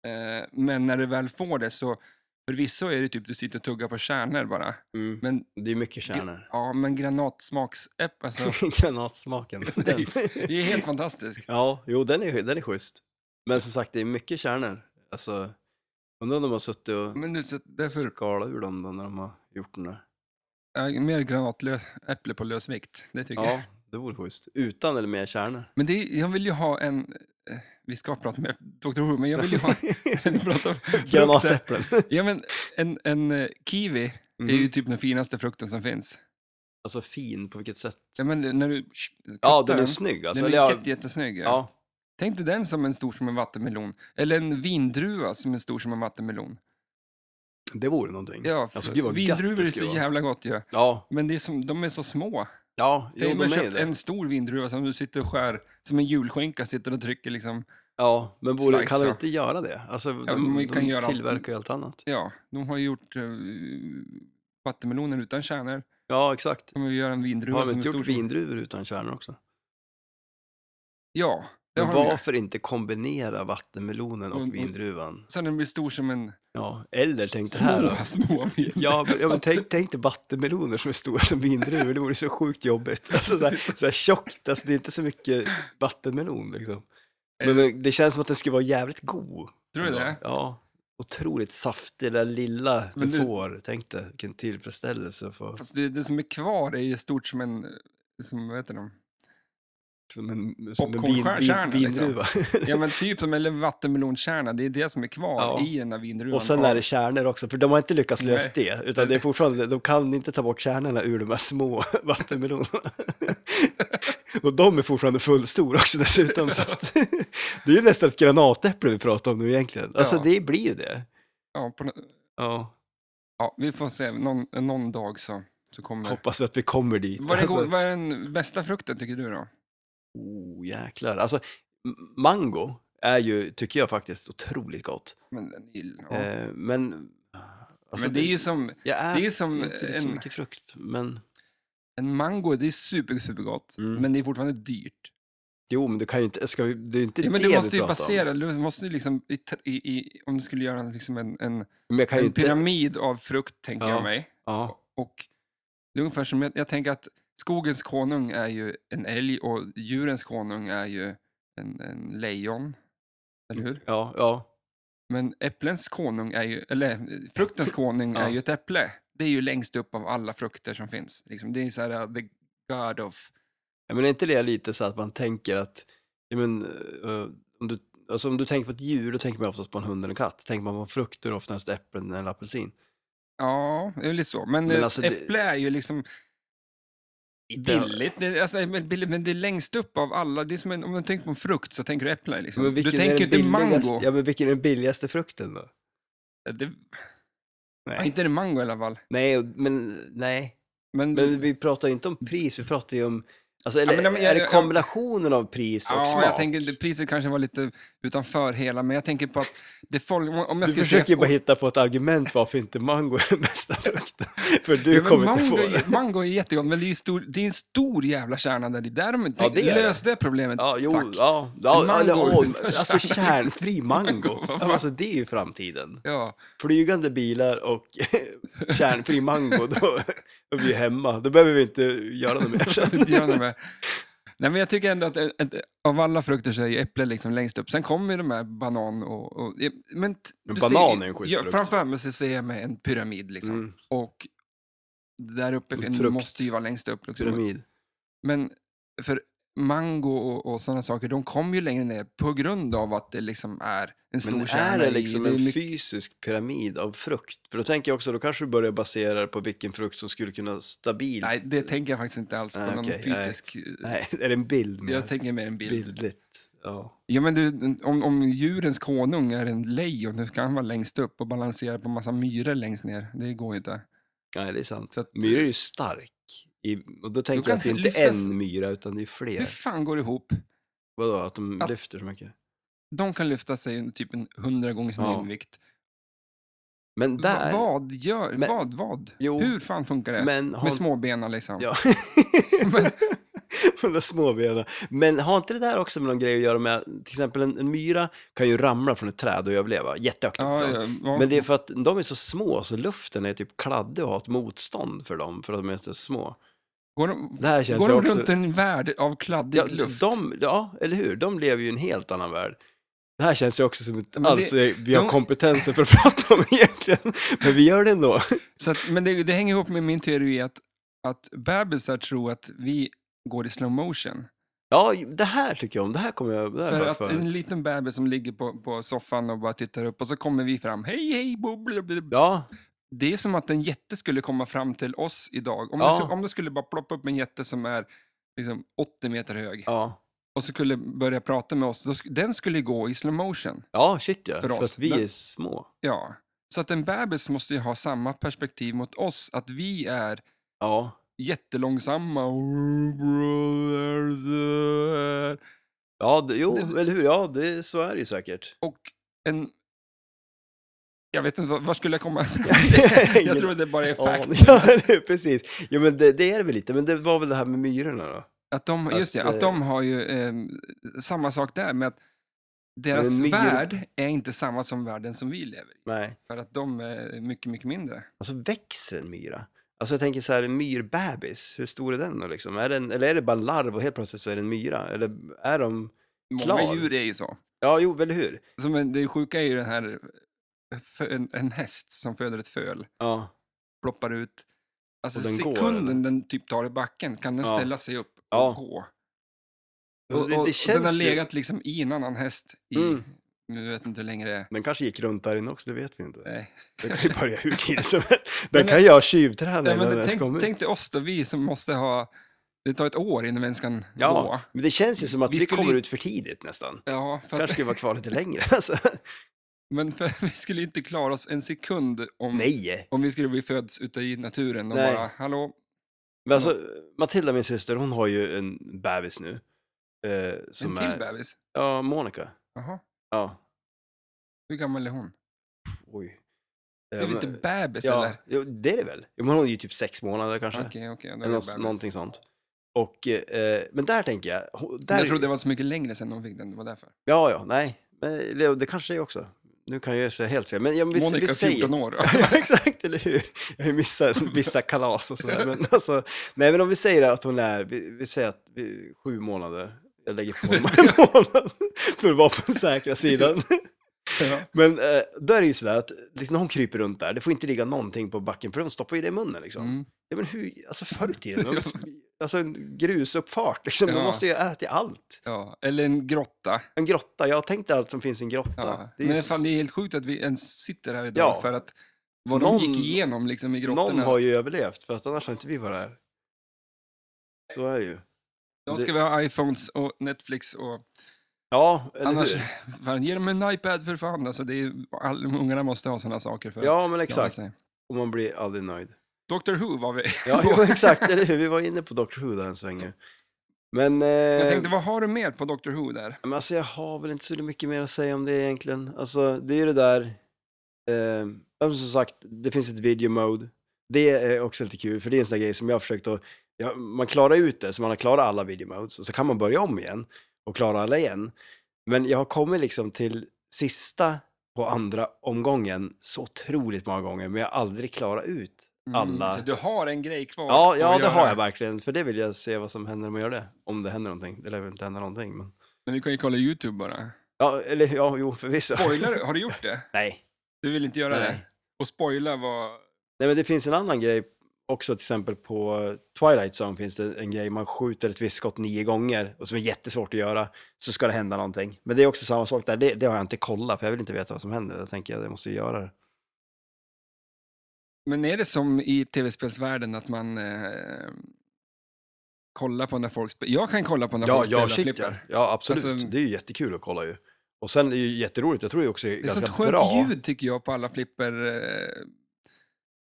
Speaker 1: Eh, Men när du väl får det så, förvisso är det typ du sitter och tuggar på kärnor bara.
Speaker 2: mm,
Speaker 1: Men,
Speaker 2: det är mycket kärnor.
Speaker 1: ja, men granatsmaksäpp, alltså,
Speaker 2: Granatsmaken.
Speaker 1: Det är
Speaker 2: Den.
Speaker 1: det är helt fantastiskt.
Speaker 2: ja, jo den är, den är schysst. Men som sagt, det är mycket kärnor. Alltså, undrar om de har suttit och
Speaker 1: Men nu, så att därför,
Speaker 2: skalat ur dem då när de har gjort den där.
Speaker 1: ja, mer granatäpple på lösvikt, det tycker jag.
Speaker 2: Ja, det vore schysst. Utan eller med kärnor.
Speaker 1: Men det, är- jag vill ju ha en, eh, vi ska prata med Dr. Who, men jag vill ju ha, prata om frukter.
Speaker 2: Granatäpplen.
Speaker 1: Ja, men en, en eh, kiwi är ju
Speaker 2: Mhm.
Speaker 1: typ den finaste frukten som finns.
Speaker 2: Alltså fin, på vilket sätt?
Speaker 1: Ja, men när du kuttar
Speaker 2: Ja, den är snygg alltså.
Speaker 1: den
Speaker 2: Eller,
Speaker 1: är
Speaker 2: ja,
Speaker 1: jätte, jättesnygg. Ja.
Speaker 2: ja,
Speaker 1: Tänk dig den som en stor som en vattenmelon. Eller en vindruva som är stor som en vattenmelon.
Speaker 2: det vore någonting.
Speaker 1: Ja, för
Speaker 2: Alltså, gud vad gött
Speaker 1: vindruvor
Speaker 2: det
Speaker 1: är
Speaker 2: skulle
Speaker 1: så
Speaker 2: vara.
Speaker 1: jävla gott ju.
Speaker 2: Ja,
Speaker 1: Men det är som, de är så små.
Speaker 2: ja, jo,
Speaker 1: Tänk
Speaker 2: de
Speaker 1: om jag
Speaker 2: är ju
Speaker 1: köpt
Speaker 2: det.
Speaker 1: en stor vindruva som du sitter och skär, som en julskinka, sitter och trycker liksom.
Speaker 2: Ja, men borde, kan de
Speaker 1: Slicer.
Speaker 2: inte göra det? Alltså, de,
Speaker 1: de kan
Speaker 2: de
Speaker 1: göra-
Speaker 2: tillverkar ju allt annat.
Speaker 1: Ja, de har ju gjort eh, vattenmeloner utan kärnor.
Speaker 2: Ja, exakt.
Speaker 1: De vill göra en vindruva
Speaker 2: Har de
Speaker 1: som är
Speaker 2: inte
Speaker 1: stor.
Speaker 2: gjort
Speaker 1: som-
Speaker 2: vindruvor utan kärnor också?
Speaker 1: Ja, det
Speaker 2: Men
Speaker 1: har de Mm, gjort.
Speaker 2: varför inte kombinera vattenmelonen
Speaker 1: Och- och-
Speaker 2: och vindruvan?
Speaker 1: Så den blir stor som en
Speaker 2: Ja, eller tänk det här då.
Speaker 1: Små, små vin.
Speaker 2: Ja, men, ja, men tänk, tänk dig vattenmeloner som är stora som vindruvor, det vore så sjukt jobbigt. Alltså så här, så här tjockt, alltså det är inte så mycket vattenmelon liksom. Men det, det känns som att den skulle vara jävligt god.
Speaker 1: Eh. Tror du det?
Speaker 2: Ja. Otroligt saftig, det där lilla du,
Speaker 1: Men du-
Speaker 2: får. Tänk dig, vilken tillfredsställelse att få
Speaker 1: Fast det, det som är kvar är ju stort som en, som, vad heter de?
Speaker 2: som en, som en vin,
Speaker 1: Popcornkärna,
Speaker 2: vin,
Speaker 1: liksom.
Speaker 2: vindruva.
Speaker 1: Ja men typ som eller vattenmelonkärna, det är det som är kvar
Speaker 2: Ja.
Speaker 1: i den här vindruvan.
Speaker 2: Och sen är det kärnor också, för de har inte lyckats lösa det, utan det är fortfarande, de kan inte ta bort kärnorna ur de här små vattenmelonerna. Och de är fortfarande fullstora också dessutom, så att, det är ju nästan ett granatäpple vi pratar om nu egentligen. Alltså
Speaker 1: Ja.
Speaker 2: det blir ju det.
Speaker 1: Ja, på, nå-
Speaker 2: Ja,
Speaker 1: ja, vi får se, någon, någon dag så, så kommer...
Speaker 2: hoppas vi att vi kommer dit.
Speaker 1: Vad är,
Speaker 2: alltså,
Speaker 1: god, vad är den bästa frukten tycker du då?
Speaker 2: oh, jäklar. Alltså, m- mango är ju, tycker jag faktiskt, otroligt gott.
Speaker 1: Men, den är- ja.
Speaker 2: Eh, men, alltså,
Speaker 1: men det är ju som,
Speaker 2: jag
Speaker 1: det
Speaker 2: är,
Speaker 1: är som
Speaker 2: inte riktigt så
Speaker 1: en,
Speaker 2: mycket frukt, men...
Speaker 1: en mango, det är super, supergott,
Speaker 2: Mm.
Speaker 1: men det är fortfarande dyrt.
Speaker 2: Jo, men du kan ju inte, ska vi, det är ju inte
Speaker 1: Ja, men
Speaker 2: det
Speaker 1: du måste
Speaker 2: vi
Speaker 1: ju
Speaker 2: pratar om.
Speaker 1: basera, du måste ju liksom, i, i, i, om du skulle göra liksom en, en
Speaker 2: Men jag kan ju
Speaker 1: en
Speaker 2: inte...
Speaker 1: pyramid av frukt, tänker
Speaker 2: Ja.
Speaker 1: jag mig.
Speaker 2: Ja,
Speaker 1: Och det är ungefär som, jag, jag tänker att skogens konung är ju en älg och djurens konung är ju en, en lejon. Eller hur?
Speaker 2: ja, ja.
Speaker 1: Men äpplens konung är ju, eller eh, fruktens konung
Speaker 2: Ja.
Speaker 1: är ju ett äpple. Det är ju längst upp av alla frukter som finns. Liksom, det är så här, uh, the god of...
Speaker 2: Ja, Men är inte det lite så att man tänker att, ja, men, eh, om, du, alltså om du tänker på ett djur, då tänker man oftast på en hund eller en katt. Tänker man på frukter, oftast äpplen eller apelsin.
Speaker 1: Ja, det är lite så. Men,
Speaker 2: Men
Speaker 1: eh,
Speaker 2: alltså det-
Speaker 1: äpple är ju liksom billigt. Det, alltså, men, billigt. Men det är längst upp av alla. Det är som en, om man tänker på en frukt så tänker du äpple. Liksom.
Speaker 2: Men
Speaker 1: du
Speaker 2: vilken
Speaker 1: tänker
Speaker 2: är
Speaker 1: ju inte
Speaker 2: den billigaste,
Speaker 1: mango. Eh,
Speaker 2: Ja, men vilken är den billigaste frukten då?
Speaker 1: Det,
Speaker 2: Nej,
Speaker 1: Ja, inte är det mango i alla fall.
Speaker 2: nej, men, nej.
Speaker 1: Men,
Speaker 2: men vi pratar ju inte om pris, vi pratar ju om Alltså, eller,
Speaker 1: men jag-
Speaker 2: är
Speaker 1: jag-
Speaker 2: det
Speaker 1: jag-
Speaker 2: kombinationen av pris och
Speaker 1: Ja,
Speaker 2: smak?
Speaker 1: jag tänker, det- priset kanske var lite utanför hela, men jag tänker på att det folk... Om jag
Speaker 2: Du
Speaker 1: skulle
Speaker 2: försöker
Speaker 1: säga,
Speaker 2: bara hitta på ett argument varför inte mango är den bästa frukten. För du
Speaker 1: Ja, men
Speaker 2: kommer
Speaker 1: mango,
Speaker 2: inte få
Speaker 1: är-
Speaker 2: det.
Speaker 1: Mango är jättegott, men det är, ju stor, det är en stor jävla kärna där. i. Där de inte
Speaker 2: Ja, det är det.
Speaker 1: lös det problemet.
Speaker 2: Ja, jo,
Speaker 1: Fuck. Ja.
Speaker 2: ja, ja,
Speaker 1: Mango.
Speaker 2: eller, åh, alltså kärnfri mango.
Speaker 1: Mango, vad fan.
Speaker 2: Alltså det är ju framtiden. Flygande bilar och kärnfri mango, då är vi hemma. Då behöver vi inte göra något mer
Speaker 1: jag vill
Speaker 2: sen.
Speaker 1: inte göra något med. Nej, men jag tycker ändå att eh, att av alla frukter så är ju äpple liksom längst upp. Sen kommer ju de här banan och... och men t-
Speaker 2: Men
Speaker 1: du
Speaker 2: banan
Speaker 1: ser-
Speaker 2: är ju en schysst
Speaker 1: ja,
Speaker 2: frukt.
Speaker 1: Framför mig så ser jag mig en pyramid liksom.
Speaker 2: Mm,
Speaker 1: Och där uppe
Speaker 2: En
Speaker 1: fin-
Speaker 2: frukt.
Speaker 1: måste ju vara längst upp. Liksom.
Speaker 2: pyramid.
Speaker 1: Men för mango och, och sådana saker, de kommer ju längre ner på grund av att det liksom är en stor
Speaker 2: Men
Speaker 1: kärna
Speaker 2: är det
Speaker 1: i.
Speaker 2: liksom
Speaker 1: är
Speaker 2: en
Speaker 1: mycket-
Speaker 2: fysisk pyramid av frukt? För då tänker jag också, då kanske du börjar basera det på vilken frukt som skulle kunna stabilt...
Speaker 1: Nej, det tänker jag faktiskt inte alls på.
Speaker 2: Nej,
Speaker 1: någon
Speaker 2: okej, nej.
Speaker 1: fysisk...
Speaker 2: Nej, är det en bild? mer?
Speaker 1: Jag tänker mer en bild.
Speaker 2: Bildligt. Ja.
Speaker 1: Ja, men du, om, om djurens konung är en lejon, då ska han vara längst upp och balansera på massa myror längst ner. Det går ju inte.
Speaker 2: Nej, det är sant.
Speaker 1: Så att,
Speaker 2: Myra är ju stark. I, och då tänker
Speaker 1: kan
Speaker 2: jag att det inte är
Speaker 1: lyftas-
Speaker 2: en myra, utan det är fler.
Speaker 1: hur fan går det ihop?
Speaker 2: Vadå, att de
Speaker 1: Att-
Speaker 2: lyfter så mycket?
Speaker 1: De kan lyfta sig under typ en hundra gånger sin
Speaker 2: Ja.
Speaker 1: egen vikt.
Speaker 2: Men
Speaker 1: Va-
Speaker 2: där...
Speaker 1: Vad gör,
Speaker 2: Men-
Speaker 1: vad, vad?
Speaker 2: Jo.
Speaker 1: Hur fan funkar det?
Speaker 2: Men har...
Speaker 1: Med småbena liksom.
Speaker 2: Ja.
Speaker 1: Men-
Speaker 2: De där småbenen. Men har inte det där också med någon grej att göra med, till exempel en, en myra kan ju ramla från ett träd och överleva, jättehögt
Speaker 1: Ja,
Speaker 2: uppifrån.
Speaker 1: ja, ja.
Speaker 2: Men det är för att de är så små så luften är typ kladdig och har ett motstånd för dem, för att de är så små.
Speaker 1: Går de,
Speaker 2: Det här känns
Speaker 1: går
Speaker 2: ju
Speaker 1: de
Speaker 2: också...
Speaker 1: runt en värld av kladdig
Speaker 2: Ja,
Speaker 1: luft?
Speaker 2: de, ja, eller hur? De lever ju i en helt annan värld. Det här känns ju också som inte
Speaker 1: Men det-
Speaker 2: alls eh, vi har
Speaker 1: de-
Speaker 2: kompetensen för att prata om egentligen, men vi gör det ändå.
Speaker 1: Så att, men det, det hänger ihop med min teori att, att bebisar tror att vi går i slow motion.
Speaker 2: Ja, det här tycker jag om, det här kommer jag, det här har
Speaker 1: För
Speaker 2: jag hört
Speaker 1: att en
Speaker 2: förut.
Speaker 1: liten bebis som ligger på, på soffan och bara tittar upp och så kommer vi fram. Hej, hej, bo, bli, bli.
Speaker 2: Ja,
Speaker 1: Det är som att en jätte skulle komma fram till oss idag. Om,
Speaker 2: Ja.
Speaker 1: det, skulle- om det skulle bara ploppa upp en jätte som är liksom 80 meter hög
Speaker 2: ja.
Speaker 1: och så skulle börja prata med oss, då, sk- den skulle ju gå i slow motion.
Speaker 2: Ja, shit ja,
Speaker 1: För
Speaker 2: för,
Speaker 1: oss.
Speaker 2: att vi
Speaker 1: Men-
Speaker 2: är små.
Speaker 1: Ja. Så att en bebis måste ju ha samma perspektiv mot oss, att vi är
Speaker 2: Ja,
Speaker 1: jättelångsamma. och-
Speaker 2: ja det, jo,
Speaker 1: Det-
Speaker 2: eller hur? Ja, det, så är det ju säkert.
Speaker 1: och en... Jag vet inte, vad- vad skulle jag komma ifrån?
Speaker 2: Ingen
Speaker 1: jag tror att det bara är fact.
Speaker 2: aning. Ja, eller hur? precis. Jo, men det, det är det väl lite, men det var väl det här med myrorna då?
Speaker 1: Att de, just det,
Speaker 2: Att,
Speaker 1: att
Speaker 2: eh,
Speaker 1: de har ju ehm, samma sak där med att deras
Speaker 2: myr-
Speaker 1: värld är inte samma som världen som vi lever i.
Speaker 2: Nej.
Speaker 1: För att de är mycket, mycket mindre.
Speaker 2: Alltså växer en myra? Alltså jag tänker så här, en myrbebis, hur stor är den då liksom? Är den, eller är det bara en larv och helt plötsligt så är det en myra? Eller är de...
Speaker 1: Många
Speaker 2: Klar.
Speaker 1: djur är ju så.
Speaker 2: Ja, jo, eller hur?
Speaker 1: så men det sjuka är ju den här, fö- en, en häst som föder ett föl,
Speaker 2: Ja.
Speaker 1: ploppar ut. Alltså
Speaker 2: Och den går,
Speaker 1: sekunden
Speaker 2: eller?
Speaker 1: den typ tar i backen kan den
Speaker 2: Ja.
Speaker 1: ställa sig upp och
Speaker 2: Ja.
Speaker 1: gå.
Speaker 2: Alltså,
Speaker 1: Och, och, den har
Speaker 2: ju-
Speaker 1: legat liksom i en annan häst i,
Speaker 2: Mm.
Speaker 1: nu vet inte hur länge det är.
Speaker 2: Den kanske gick runt där inne också, det vet vi inte.
Speaker 1: Nej.
Speaker 2: Den kan ju börja hur tidigt som helst. Den
Speaker 1: Men-
Speaker 2: kan jag tjuvträna
Speaker 1: Nej,
Speaker 2: innan den
Speaker 1: men
Speaker 2: ens
Speaker 1: tänk,
Speaker 2: kommer ut.
Speaker 1: tänk dig oss då, vi som måste ha, det tar ett år innan vi ens kan
Speaker 2: Ja.
Speaker 1: gå.
Speaker 2: Men det känns ju som att
Speaker 1: Vi
Speaker 2: vi,
Speaker 1: skulle
Speaker 2: kommer
Speaker 1: ju-
Speaker 2: ut för tidigt nästan.
Speaker 1: Ja, för
Speaker 2: Kanske
Speaker 1: att,
Speaker 2: skulle vara kvar lite längre. Alltså.
Speaker 1: Mm. men för, vi skulle inte klara oss en sekund om,
Speaker 2: Nej!
Speaker 1: om vi skulle bli föds ute i naturen och
Speaker 2: Nej.
Speaker 1: bara, hallå,
Speaker 2: Men alltså,
Speaker 1: Mm.
Speaker 2: Matilda, min syster, hon har ju en bebis nu. Eh, som
Speaker 1: en till
Speaker 2: är...
Speaker 1: bebis?
Speaker 2: Ja, Monica.
Speaker 1: Jaha,
Speaker 2: Ja.
Speaker 1: hur gammal är hon?
Speaker 2: Oj.
Speaker 1: Är det
Speaker 2: Eh,
Speaker 1: inte
Speaker 2: men-
Speaker 1: bebis
Speaker 2: Ja,
Speaker 1: eller?
Speaker 2: jo, det är det väl. Jo, men hon är ju typ sex månader kanske.
Speaker 1: Okej, okej. då är det
Speaker 2: Eller
Speaker 1: bebis.
Speaker 2: något, någonting sånt. Och, eh, men där tänker jag... hon- Där,
Speaker 1: Jag trodde det var så mycket längre sedan de fick den, det var därför.
Speaker 2: Ja, ja, nej. Men, eller, det kanske det är också. Nu kan jag säga helt fel. Men ja, men vi,
Speaker 1: Monica,
Speaker 2: vi säger...
Speaker 1: 14 år.
Speaker 2: Ja, exakt, eller hur? Jag har ju missat vissa kalas och sådär. Men alltså, nej, men om vi säger att hon är, vi, vi säger att vi, sju månader, jag lägger på en månad för att vara på den säkra sidan.
Speaker 1: Ja.
Speaker 2: Men eh, då är det ju sådär att liksom, när hon kryper runt där, det får inte ligga någonting på backen för de stoppar ju det i munnen liksom.
Speaker 1: Mm.
Speaker 2: Ja, men hur, alltså förr i tiden, de, alltså en grusuppfart, liksom,
Speaker 1: Ja.
Speaker 2: de måste ju äta allt.
Speaker 1: Ja, eller en grotta.
Speaker 2: En grotta, jag har tänkt allt som finns i en grotta.
Speaker 1: Ja.
Speaker 2: Det är ju
Speaker 1: Men fan,
Speaker 2: s-
Speaker 1: det är helt sjukt att vi ens sitter här idag
Speaker 2: Ja.
Speaker 1: för att vad
Speaker 2: Någon-
Speaker 1: de gick igenom liksom, i grottorna.
Speaker 2: Någon har ju överlevt, för att annars har inte vi varit här. Så är det ju.
Speaker 1: Då ska vi ha iPhones och Netflix och
Speaker 2: Ja, eller
Speaker 1: annars,
Speaker 2: hur?
Speaker 1: fan, ge dem en iPad för fan. Alltså, det är, all, ungarna måste ha sådana saker för
Speaker 2: Ja, men
Speaker 1: att klara
Speaker 2: exakt.
Speaker 1: sig.
Speaker 2: Och man blir aldrig nöjd.
Speaker 1: Doctor Who var vi.
Speaker 2: Ja, jo, exakt, eller hur? Vi var inne på Dr Who där en sväng ju. Men, eh,
Speaker 1: Jag tänkte, vad har du mer på Doctor Who där?
Speaker 2: men alltså, jag har väl inte så mycket mer att säga om det egentligen. Alltså, det är ju det där, eh, ja, men som sagt, det finns ett video mode. Det är också lite kul, för det är en sån där grej som jag har försökt att, ja, man klarar ut det, så man har klarat alla video modes, och så kan man börja om igen och klara alla igen. Men jag har kommit liksom till sista på andra omgången så otroligt många gånger, men jag har aldrig klarat ut alla.
Speaker 1: Mm, Du har en grej kvar.
Speaker 2: Ja,
Speaker 1: att
Speaker 2: ja det
Speaker 1: göra.
Speaker 2: har jag verkligen. För det vill jag se vad som händer om jag gör det. Om det händer någonting. Det lär väl inte hända någonting. Men...
Speaker 1: Men du kan ju kolla YouTube bara.
Speaker 2: Ja, eller ja, jo, förvisso.
Speaker 1: Spoilar du? Har du gjort det?
Speaker 2: Nej.
Speaker 1: Du vill inte göra
Speaker 2: Nej.
Speaker 1: det? Och spoila vad...
Speaker 2: Nej, men det finns en annan grej också. Till exempel på Twilight Zone finns det en grej. Man skjuter ett visst skott nio gånger och som är jättesvårt att göra. Så ska det hända någonting. Men det är också samma sak där. Det, det har jag inte kollat för jag vill inte veta vad som händer. Jag tänker jag måste ju göra det.
Speaker 1: Men är det som i tv-spelsvärlden att man eh, kollar på när folk spelar? Jag kan kolla på när folk spelar flipper.
Speaker 2: Ja, absolut.
Speaker 1: Alltså-
Speaker 2: Det är ju jättekul att kolla ju. Och sen är det ju jätteroligt. Jag tror det också
Speaker 1: Det är sånt skönt ljud tycker jag på alla flipper-filmer, eh,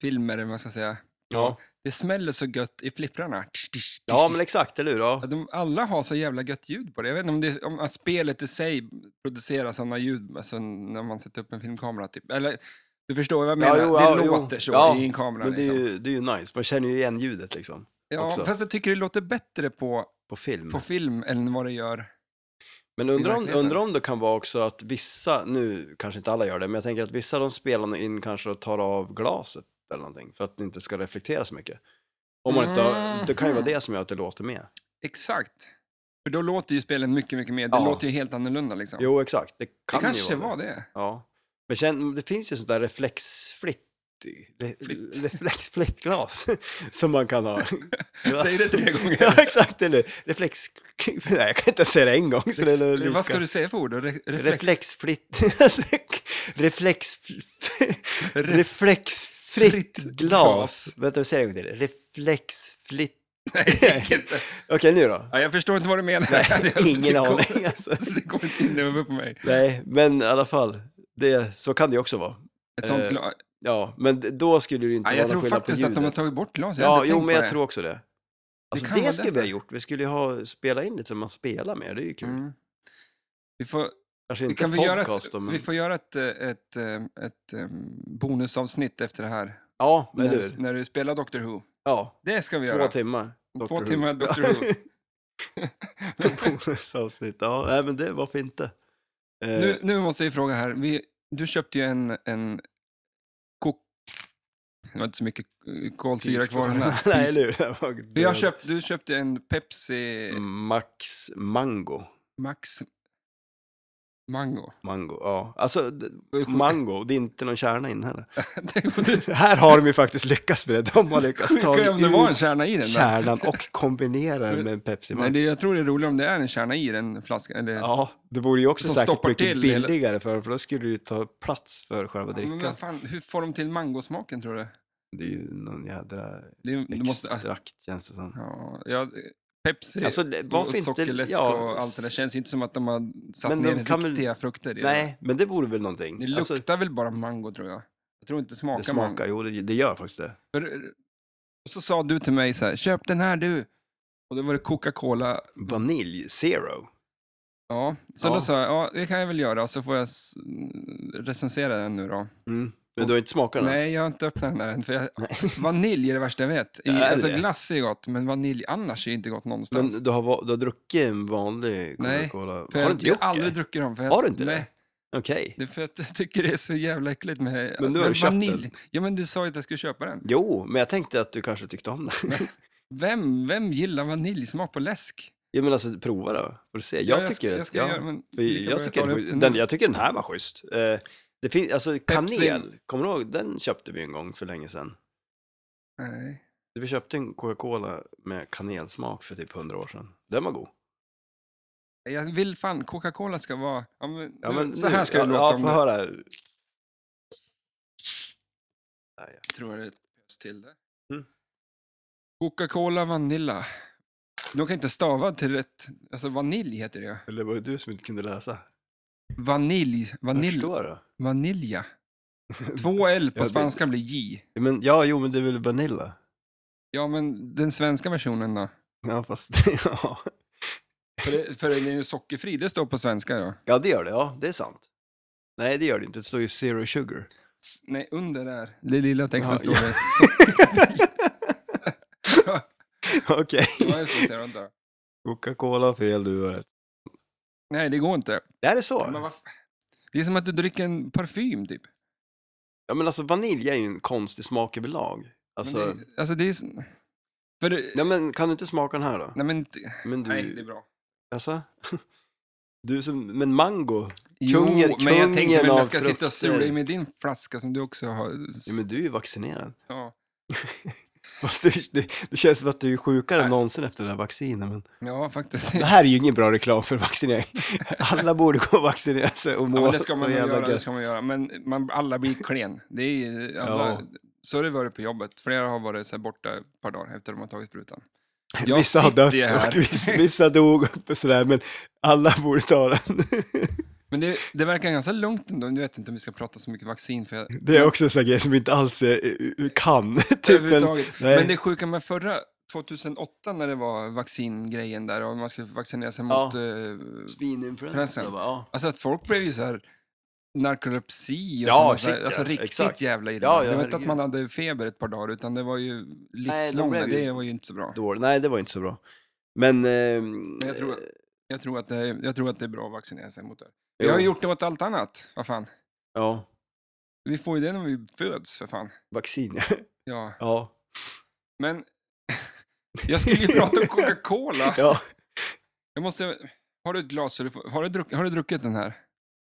Speaker 1: filmer, eller vad man ska säga.
Speaker 2: Ja.
Speaker 1: Det smäller så gött i flipprarna.
Speaker 2: ja, men liksom- exakt, eller hur?
Speaker 1: Ja,
Speaker 2: Ja.
Speaker 1: De, alla har så jävla gött ljud på det. Jag vet inte om, det, om att spelet i sig producerar sådana ljud alltså, när man sätter upp en filmkamera. Typ. Eller, du förstår vad jag
Speaker 2: Ja,
Speaker 1: menar?
Speaker 2: jo, ja,
Speaker 1: det
Speaker 2: jo.
Speaker 1: låter så
Speaker 2: Ja,
Speaker 1: i en kamera.
Speaker 2: Men det är,
Speaker 1: liksom.
Speaker 2: ju, det är ju nice, man känner ju igen ljudet liksom
Speaker 1: ja,
Speaker 2: också. Mm.
Speaker 1: fast jag tycker det låter bättre på,
Speaker 2: på film.
Speaker 1: på film än vad det gör.
Speaker 2: men undrar om,
Speaker 1: verkligheten.
Speaker 2: undrar om det kan vara också att vissa, nu kanske inte alla gör det, men jag tänker att vissa de spelar nog in kanske och tar av glaset eller någonting för att det inte ska reflektera så mycket. Om man inte
Speaker 1: Mm.
Speaker 2: har, det kan ju vara det som gör att det låter med.
Speaker 1: Exakt. För då låter ju spelen mycket, mycket mer. Det
Speaker 2: Ja.
Speaker 1: låter ju helt annorlunda liksom.
Speaker 2: Jo, exakt. Det
Speaker 1: det
Speaker 2: kan
Speaker 1: kanske
Speaker 2: ju vara
Speaker 1: var
Speaker 2: det.
Speaker 1: det.
Speaker 2: Ja. Men sen, det finns ju sånt där reflexfritt re-
Speaker 1: Flitt.
Speaker 2: reflexfritt glas som man kan ha.
Speaker 1: Säg det tre gånger.
Speaker 2: Ja, exakt. Eller reflex... Nej, jag kan inte säga det en gång. Så det är lika.
Speaker 1: Vad ska du säga för ord? då? Re reflex?
Speaker 2: Reflexfritt... Alltså, reflex... Reflexfritt glas.
Speaker 1: glas.
Speaker 2: Vänta, vi säger det en gång till. Reflexfritt...
Speaker 1: Nej, det gick inte.
Speaker 2: Okej, nu då?
Speaker 1: Ja, jag förstår inte vad du menar.
Speaker 2: Nej,
Speaker 1: Jag-
Speaker 2: ingen
Speaker 1: det kom-
Speaker 2: aning. Alltså.
Speaker 1: Det går inte in över på mig.
Speaker 2: Nej, men i alla fall. Det, så kan det ju också vara.
Speaker 1: Ett sånt
Speaker 2: Eh,
Speaker 1: gla-
Speaker 2: Ja, men d- då skulle det inte
Speaker 1: Ja,
Speaker 2: vara
Speaker 1: jag tror
Speaker 2: någon skillnad på
Speaker 1: faktiskt att de har
Speaker 2: ljudet.
Speaker 1: tagit bort glaset.
Speaker 2: Ja,
Speaker 1: hade
Speaker 2: jo,
Speaker 1: tänkt
Speaker 2: men
Speaker 1: på
Speaker 2: jag
Speaker 1: det.
Speaker 2: tror också det. Alltså
Speaker 1: kan
Speaker 2: det,
Speaker 1: vara
Speaker 2: skulle vi ha
Speaker 1: därför.
Speaker 2: gjort. Vi skulle ju ha spelat in lite så man spelar med, det är ju kul.
Speaker 1: Mm. Vi får,
Speaker 2: Kanske
Speaker 1: vi
Speaker 2: inte
Speaker 1: kan vi, göra ett,
Speaker 2: podcast då, men...
Speaker 1: vi får göra ett, eh, ett, eh, ett, eh, bonusavsnitt efter det här.
Speaker 2: Ja, men
Speaker 1: När
Speaker 2: eller
Speaker 1: du,
Speaker 2: hur?
Speaker 1: när du spelar Doctor Who.
Speaker 2: Ja,
Speaker 1: Det ska Mm. vi
Speaker 2: två
Speaker 1: göra.
Speaker 2: timmar. Dr.
Speaker 1: Två
Speaker 2: Who.
Speaker 1: timmar Doctor Who.
Speaker 2: Bonusavsnitt, ja. Nej, men det, varför inte? Eh,
Speaker 1: nu, nu måste jag fråga här. Vi, du köpte ju en... en kok... Det var inte så mycket eh, kolsyra kvar. i den här.
Speaker 2: Nej, eller hur? Det var-
Speaker 1: Vi har köpt, du köpte en Pepsi
Speaker 2: Mm. Max Mango.
Speaker 1: Max Mango.
Speaker 2: Mango, ja. Alltså, d- mango, det är inte någon kärna in heller.
Speaker 1: Tänk om det-
Speaker 2: Här har de ju faktiskt lyckats med det. De har lyckats ta
Speaker 1: Tänk om det var en kärna i den där.
Speaker 2: kärnan och kombinera den med en Pepsi Max.
Speaker 1: Nej, det, jag tror det är roligare om det är en kärna i den flaskan. Eller,
Speaker 2: Ja, det vore ju också
Speaker 1: Som
Speaker 2: säkert
Speaker 1: stoppar
Speaker 2: mycket
Speaker 1: till hela-
Speaker 2: billigare för dem, för då skulle det ju ta plats för själva
Speaker 1: men
Speaker 2: drickan.
Speaker 1: vad fan, hur får de till mangosmaken tror du?
Speaker 2: Det är ju någon jädra
Speaker 1: Det, är- det måste,
Speaker 2: extrakt, känns det som.
Speaker 1: ja, ja, Pepsi
Speaker 2: Alltså, det-
Speaker 1: och
Speaker 2: varför inte...
Speaker 1: sockerläsk och allt det där känns inte som att de har satt
Speaker 2: Men de
Speaker 1: ner
Speaker 2: kan väl-
Speaker 1: riktiga frukter i
Speaker 2: Nej, men det vore väl någonting.
Speaker 1: det. Det
Speaker 2: Alltså,
Speaker 1: luktar väl bara mango tror jag. Jag tror inte det smakar,
Speaker 2: det smakar,
Speaker 1: mango.
Speaker 2: jo det, det gör faktiskt det.
Speaker 1: För, och så sa du till mig så här, köp den här du. Och då var det Coca-Cola.
Speaker 2: Vanilj zero.
Speaker 1: Ja, så
Speaker 2: Ja.
Speaker 1: då sa jag, ja det kan jag väl göra. Så får jag s- recensera den nu då.
Speaker 2: Mm. Men du har inte smakat den?
Speaker 1: Nej, jag har inte öppnat den här än. För jag, vanilj är det värsta jag vet. I,
Speaker 2: Är det
Speaker 1: alltså
Speaker 2: det?
Speaker 1: glass är gott, men vanilj annars är inte gott någonstans.
Speaker 2: Men du har, va- du har druckit en vanlig
Speaker 1: Nej,
Speaker 2: Coca-Cola?
Speaker 1: för
Speaker 2: har du
Speaker 1: jag
Speaker 2: inte
Speaker 1: jag
Speaker 2: gjort
Speaker 1: har aldrig
Speaker 2: det?
Speaker 1: druckit dem. För jag,
Speaker 2: Har du inte det?
Speaker 1: nej,
Speaker 2: Okej.
Speaker 1: det? är för att jag tycker det är så jävla äckligt med
Speaker 2: Men nu har du köpt den.
Speaker 1: Ja, men du sa ju att jag skulle köpa den.
Speaker 2: Jo, men jag tänkte att du kanske tyckte om det.
Speaker 1: Vem, vem gillar vaniljsmak på läsk?
Speaker 2: ja, men alltså prova då, får du se.
Speaker 1: Ja,
Speaker 2: Jag tycker
Speaker 1: ska,
Speaker 2: att-
Speaker 1: jag ska
Speaker 2: ja.
Speaker 1: göra, men
Speaker 2: För
Speaker 1: lika bra
Speaker 2: jag, tycker
Speaker 1: tar
Speaker 2: den,
Speaker 1: upp Mm.
Speaker 2: den,
Speaker 1: nu.
Speaker 2: jag tycker den här var schysst. Eh, det finns, alltså kanel, kommer du ihåg? Den köpte vi en gång för länge sedan.
Speaker 1: Nej.
Speaker 2: Vi köpte en Coca-Cola med kanelsmak för typ 100 år sedan. Den var god.
Speaker 1: Jag vill fan, Coca-Cola ska vara... Ja, men,
Speaker 2: Ja, men
Speaker 1: så
Speaker 2: nu-
Speaker 1: här ska
Speaker 2: ja,
Speaker 1: det låta
Speaker 2: ja,
Speaker 1: om
Speaker 2: få
Speaker 1: det.
Speaker 2: höra. här.
Speaker 1: Jag tror det behövs till det.
Speaker 2: Mm.
Speaker 1: Coca-Cola Vanilla. De kan inte stava till rätt. Alltså vanilj heter det.
Speaker 2: Eller var det du som inte kunde läsa?
Speaker 1: Vanilj.
Speaker 2: Jag
Speaker 1: Vanilj.
Speaker 2: förstår det.
Speaker 1: Vanilja. Två L
Speaker 2: Ja,
Speaker 1: på
Speaker 2: det-
Speaker 1: spanska blir J.
Speaker 2: Ja, Men, ja, jo, men det är väl vanilla?
Speaker 1: Ja, men den svenska versionen då?
Speaker 2: Ja, fast ja.
Speaker 1: För, det, för den är ju sockerfri, det står på svenska ja.
Speaker 2: Ja, det gör det. Ja, det är sant. Nej, det gör det inte. Det står ju zero sugar.
Speaker 1: S- Nej, under där, den lilla texten
Speaker 2: Ja,
Speaker 1: står
Speaker 2: ja.
Speaker 1: det. Ja.
Speaker 2: Okej.
Speaker 1: Vad är det som står under?
Speaker 2: Coca-Cola fel, du har rätt.
Speaker 1: Nej, det går inte.
Speaker 2: Det här är så.
Speaker 1: Men vad f- det är som att du dricker en parfym typ. Men
Speaker 2: Ja, men alltså vanilj är ju en konstig smak överlag. Alltså,
Speaker 1: det, alltså det är... s- För det,
Speaker 2: ja, men kan du inte smaka den här då?
Speaker 1: nej, men,
Speaker 2: Men du,
Speaker 1: nej, det är bra.
Speaker 2: alltså, du som, men mango.
Speaker 1: Jo,
Speaker 2: Kungen-
Speaker 1: men jag tänkte väl
Speaker 2: kungen
Speaker 1: om
Speaker 2: av
Speaker 1: jag ska sitta och
Speaker 2: frukter.
Speaker 1: sola i med din flaska som du också har. s-
Speaker 2: Ja, men du är ju vaccinerad.
Speaker 1: Ja,
Speaker 2: Fast du, du, det känns som att du är sjukare
Speaker 1: Nej.
Speaker 2: än någonsin efter den här vaccinen. Men...
Speaker 1: ja faktiskt.
Speaker 2: Det här är ju ingen bra reklam för vaccinering. Alla borde gå och vaccinera sig och må
Speaker 1: Ja, men det ska
Speaker 2: så
Speaker 1: man
Speaker 2: jävla
Speaker 1: göra, det
Speaker 2: gött.
Speaker 1: ska man göra. Men man, alla blir klen. Det är ju alla,
Speaker 2: Ja.
Speaker 1: Så har det varit på jobbet. Flera har varit så här borta ett par dagar efter de har tagit sprutan. Jag
Speaker 2: Vissa har
Speaker 1: sitter
Speaker 2: dött
Speaker 1: ju här.
Speaker 2: och vissa, vissa dog och sådär, men alla borde ta den.
Speaker 1: Men det, det verkar ganska lugnt ändå. Nu vet jag inte om vi ska prata så mycket vaccin. För jag,
Speaker 2: Det är också en sån här grej som vi inte alls eh, kan. Typ en,
Speaker 1: överhuvudtaget.
Speaker 2: nej.
Speaker 1: Men det sjuka med förra 2008 när det var vaccingrejen där och man skulle vaccinera sig
Speaker 2: Ja.
Speaker 1: mot... eh,
Speaker 2: svininfluensa.
Speaker 1: Influensan.
Speaker 2: va? Ja.
Speaker 1: alltså att folk blev ju så här narkolepsi och
Speaker 2: Ja,
Speaker 1: sådana så
Speaker 2: shit,
Speaker 1: här,
Speaker 2: ja.
Speaker 1: alltså riktigt
Speaker 2: Exakt.
Speaker 1: jävla illa.
Speaker 2: Ja, ja,
Speaker 1: det var inte att
Speaker 2: herregud.
Speaker 1: man hade feber ett par dagar utan det var ju livslånga,
Speaker 2: blev ju-
Speaker 1: det var ju inte så bra.
Speaker 2: Dålig. Nej, det var inte så bra. Men... ehm,
Speaker 1: Men jag tror- Jag tror, att det är, jag tror att det är bra att vaccinera sig mot det.
Speaker 2: Jo.
Speaker 1: Vi har ju gjort det mot allt annat. Vad fan.
Speaker 2: Ja,
Speaker 1: Vi får ju det när vi föds, för fan.
Speaker 2: vaccin.
Speaker 1: Ja.
Speaker 2: Ja.
Speaker 1: Men jag skulle ju prata om Coca-Cola.
Speaker 2: Ja.
Speaker 1: Jag måste... Har du ett glas? så du får- Har du, druck, har du druckit den här?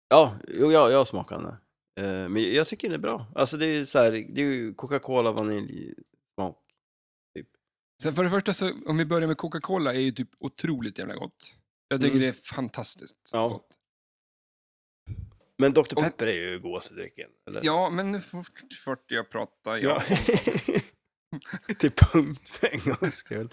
Speaker 2: Ja, jo, jag, jag smakar den. Eh, Men jag tycker den är bra. Alltså det är ju så här, det är ju Coca-Cola, vanilj, smak.
Speaker 1: Sen för det första, så, om vi börjar med Coca-Cola, är ju typ otroligt jävla gott. Jag tycker
Speaker 2: Mm.
Speaker 1: det är fantastiskt
Speaker 2: Ja.
Speaker 1: gott.
Speaker 2: Men Dr.
Speaker 1: Och-
Speaker 2: Pepper är ju godaste eller?
Speaker 1: Ja, men nu får får jag prata. Ja.
Speaker 2: Ja. Till punkt för en gångs skull.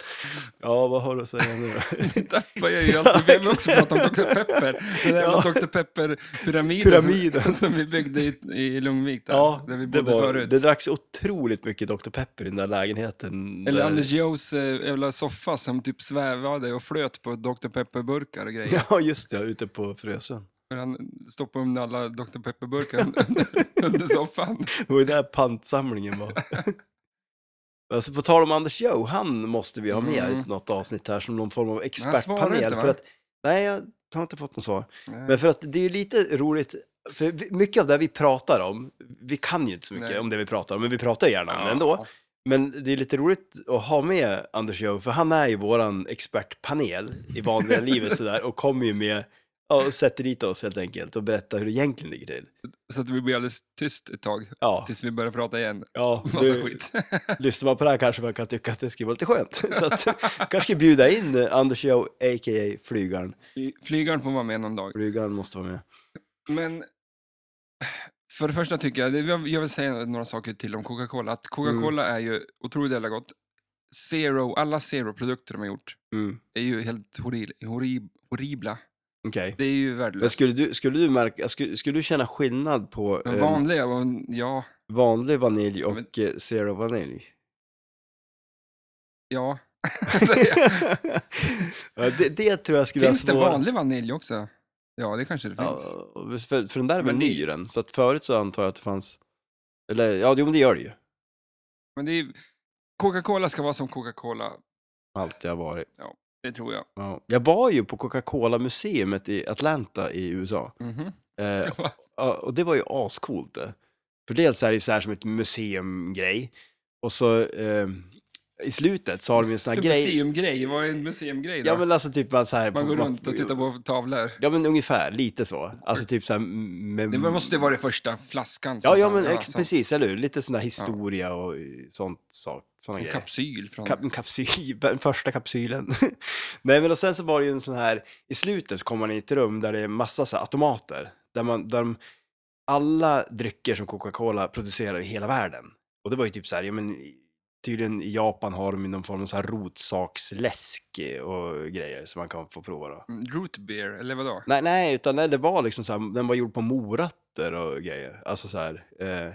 Speaker 2: Ja, vad har du att säga nu då?
Speaker 1: Det tappar jag ju alltid. Vi har också pratat om Dr. Pepper. Den där
Speaker 2: Ja.
Speaker 1: Dr. Pepper-pyramiden Som,
Speaker 2: Pyramiden.
Speaker 1: som vi byggde i, i Lugnvik, där,
Speaker 2: Ja,
Speaker 1: där vi bodde
Speaker 2: det, var,
Speaker 1: förut.
Speaker 2: det dracks otroligt mycket Dr. Pepper i den där lägenheten.
Speaker 1: Eller
Speaker 2: där,
Speaker 1: Anders Joes eh, jävla soffa som typ svävade och flöt på Dr. Pepper-burkar och grejer.
Speaker 2: Ja, just det, ute på Frösön.
Speaker 1: För han stoppade undan alla Dr. Pepper-burkar under, under soffan.
Speaker 2: Det var ju där pantsamlingen var. Alltså på tal om Anders Joe, han måste vi ha med
Speaker 1: Mm.
Speaker 2: i något avsnitt här som någon form av
Speaker 1: svarar
Speaker 2: expertpanel.
Speaker 1: inte, va?
Speaker 2: för att, nej, jag har inte fått något svar.
Speaker 1: Mm.
Speaker 2: Men för att det är ju lite roligt, för vi- mycket av det vi pratar om, vi kan ju inte så mycket
Speaker 1: Nej.
Speaker 2: om det vi pratar om, men vi pratar ju gärna om det ändå.
Speaker 1: Ja.
Speaker 2: Men det är lite roligt att ha med Anders Joe, för han är ju våran expertpanel i vanliga livet sådär och kommer ju med ja, och sätter dit oss helt enkelt och berättar hur det egentligen ligger till.
Speaker 1: Så att vi blir alldeles tyst ett tag,
Speaker 2: Ja,
Speaker 1: tills vi börjar prata igen.
Speaker 2: ja
Speaker 1: Massa
Speaker 2: du-
Speaker 1: skit.
Speaker 2: lyssnar man på det här kanske man kan tycka att det skulle vara lite skönt. Så att kanske ska bjuda in eh, Anders Joe, a.k.a. Flygaren.
Speaker 1: Flygaren får vara med någon dag.
Speaker 2: Flygaren måste vara med.
Speaker 1: Men för det första tycker jag, det- jag jag vill säga några saker till om Coca-Cola. Att
Speaker 2: Mm.
Speaker 1: Coca-Cola är ju otroligt jävla gott. Zero, alla zero-produkter de har gjort
Speaker 2: Mm.
Speaker 1: är ju helt horri, horri, horribla.
Speaker 2: Okej.
Speaker 1: Det är ju
Speaker 2: Men
Speaker 1: värdelöst.
Speaker 2: skulle du, skulle, du märka, skulle, skulle du känna skillnad på
Speaker 1: Den
Speaker 2: eh,
Speaker 1: vanliga, och, ja,
Speaker 2: vanlig vanilj och
Speaker 1: Men-
Speaker 2: eh, zero vanilj?
Speaker 1: ja.
Speaker 2: ja, det, det tror jag skulle
Speaker 1: Finns det
Speaker 2: svåra-
Speaker 1: vanlig vanilj också? Ja, det kanske det
Speaker 2: Ja,
Speaker 1: finns.
Speaker 2: för, för den där är väl
Speaker 1: Men det-
Speaker 2: ny den, så att förut så antar jag att det fanns... Eller ja, jo men det gör det ju.
Speaker 1: Men det är, ju- Coca-Cola ska vara som Coca-Cola,
Speaker 2: Allt jag har varit.
Speaker 1: det tror jag.
Speaker 2: Ja. Jag var ju på Coca-Cola-museet i Atlanta i USA.
Speaker 1: Mhm.
Speaker 2: Eh, Ja, och det var ju ascoolt det. För dels är det ju så här som ett museumgrej. Och så eh, i slutet så har de en sån här
Speaker 1: En
Speaker 2: grej.
Speaker 1: museumgrej, vad är en museumgrej då?
Speaker 2: Ja men alltså typ man så här.
Speaker 1: Man
Speaker 2: på-
Speaker 1: går runt och tittar på tavlor.
Speaker 2: Ja men ungefär, lite så. Alltså typ så här. Med,
Speaker 1: Det måste ju vara det första flaskan. som
Speaker 2: Ja, ja
Speaker 1: man-
Speaker 2: men ex-
Speaker 1: som-
Speaker 2: precis, eller hur? Lite sån här historia och sånt, sak, såna
Speaker 1: En
Speaker 2: grejer.
Speaker 1: kapsyl från...
Speaker 2: Kap, en kapsyl, den första kapsylen. Nej men och sen så var det ju en sån här, i slutet så kom man in i ett rum där det är massa så här automater. Där man, där de, alla drycker som Coca-Cola producerar i hela världen. Och det var ju typ så här, ja men i- tydligen i Japan har de ju någon form av så här rotsaksläsk eh, och grejer som man kan få prova då.
Speaker 1: Mm, Root beer, eller vadå?
Speaker 2: Nej, nej, utan nej, det var liksom så här, den var gjord på morötter och grejer. Alltså så här. Eh,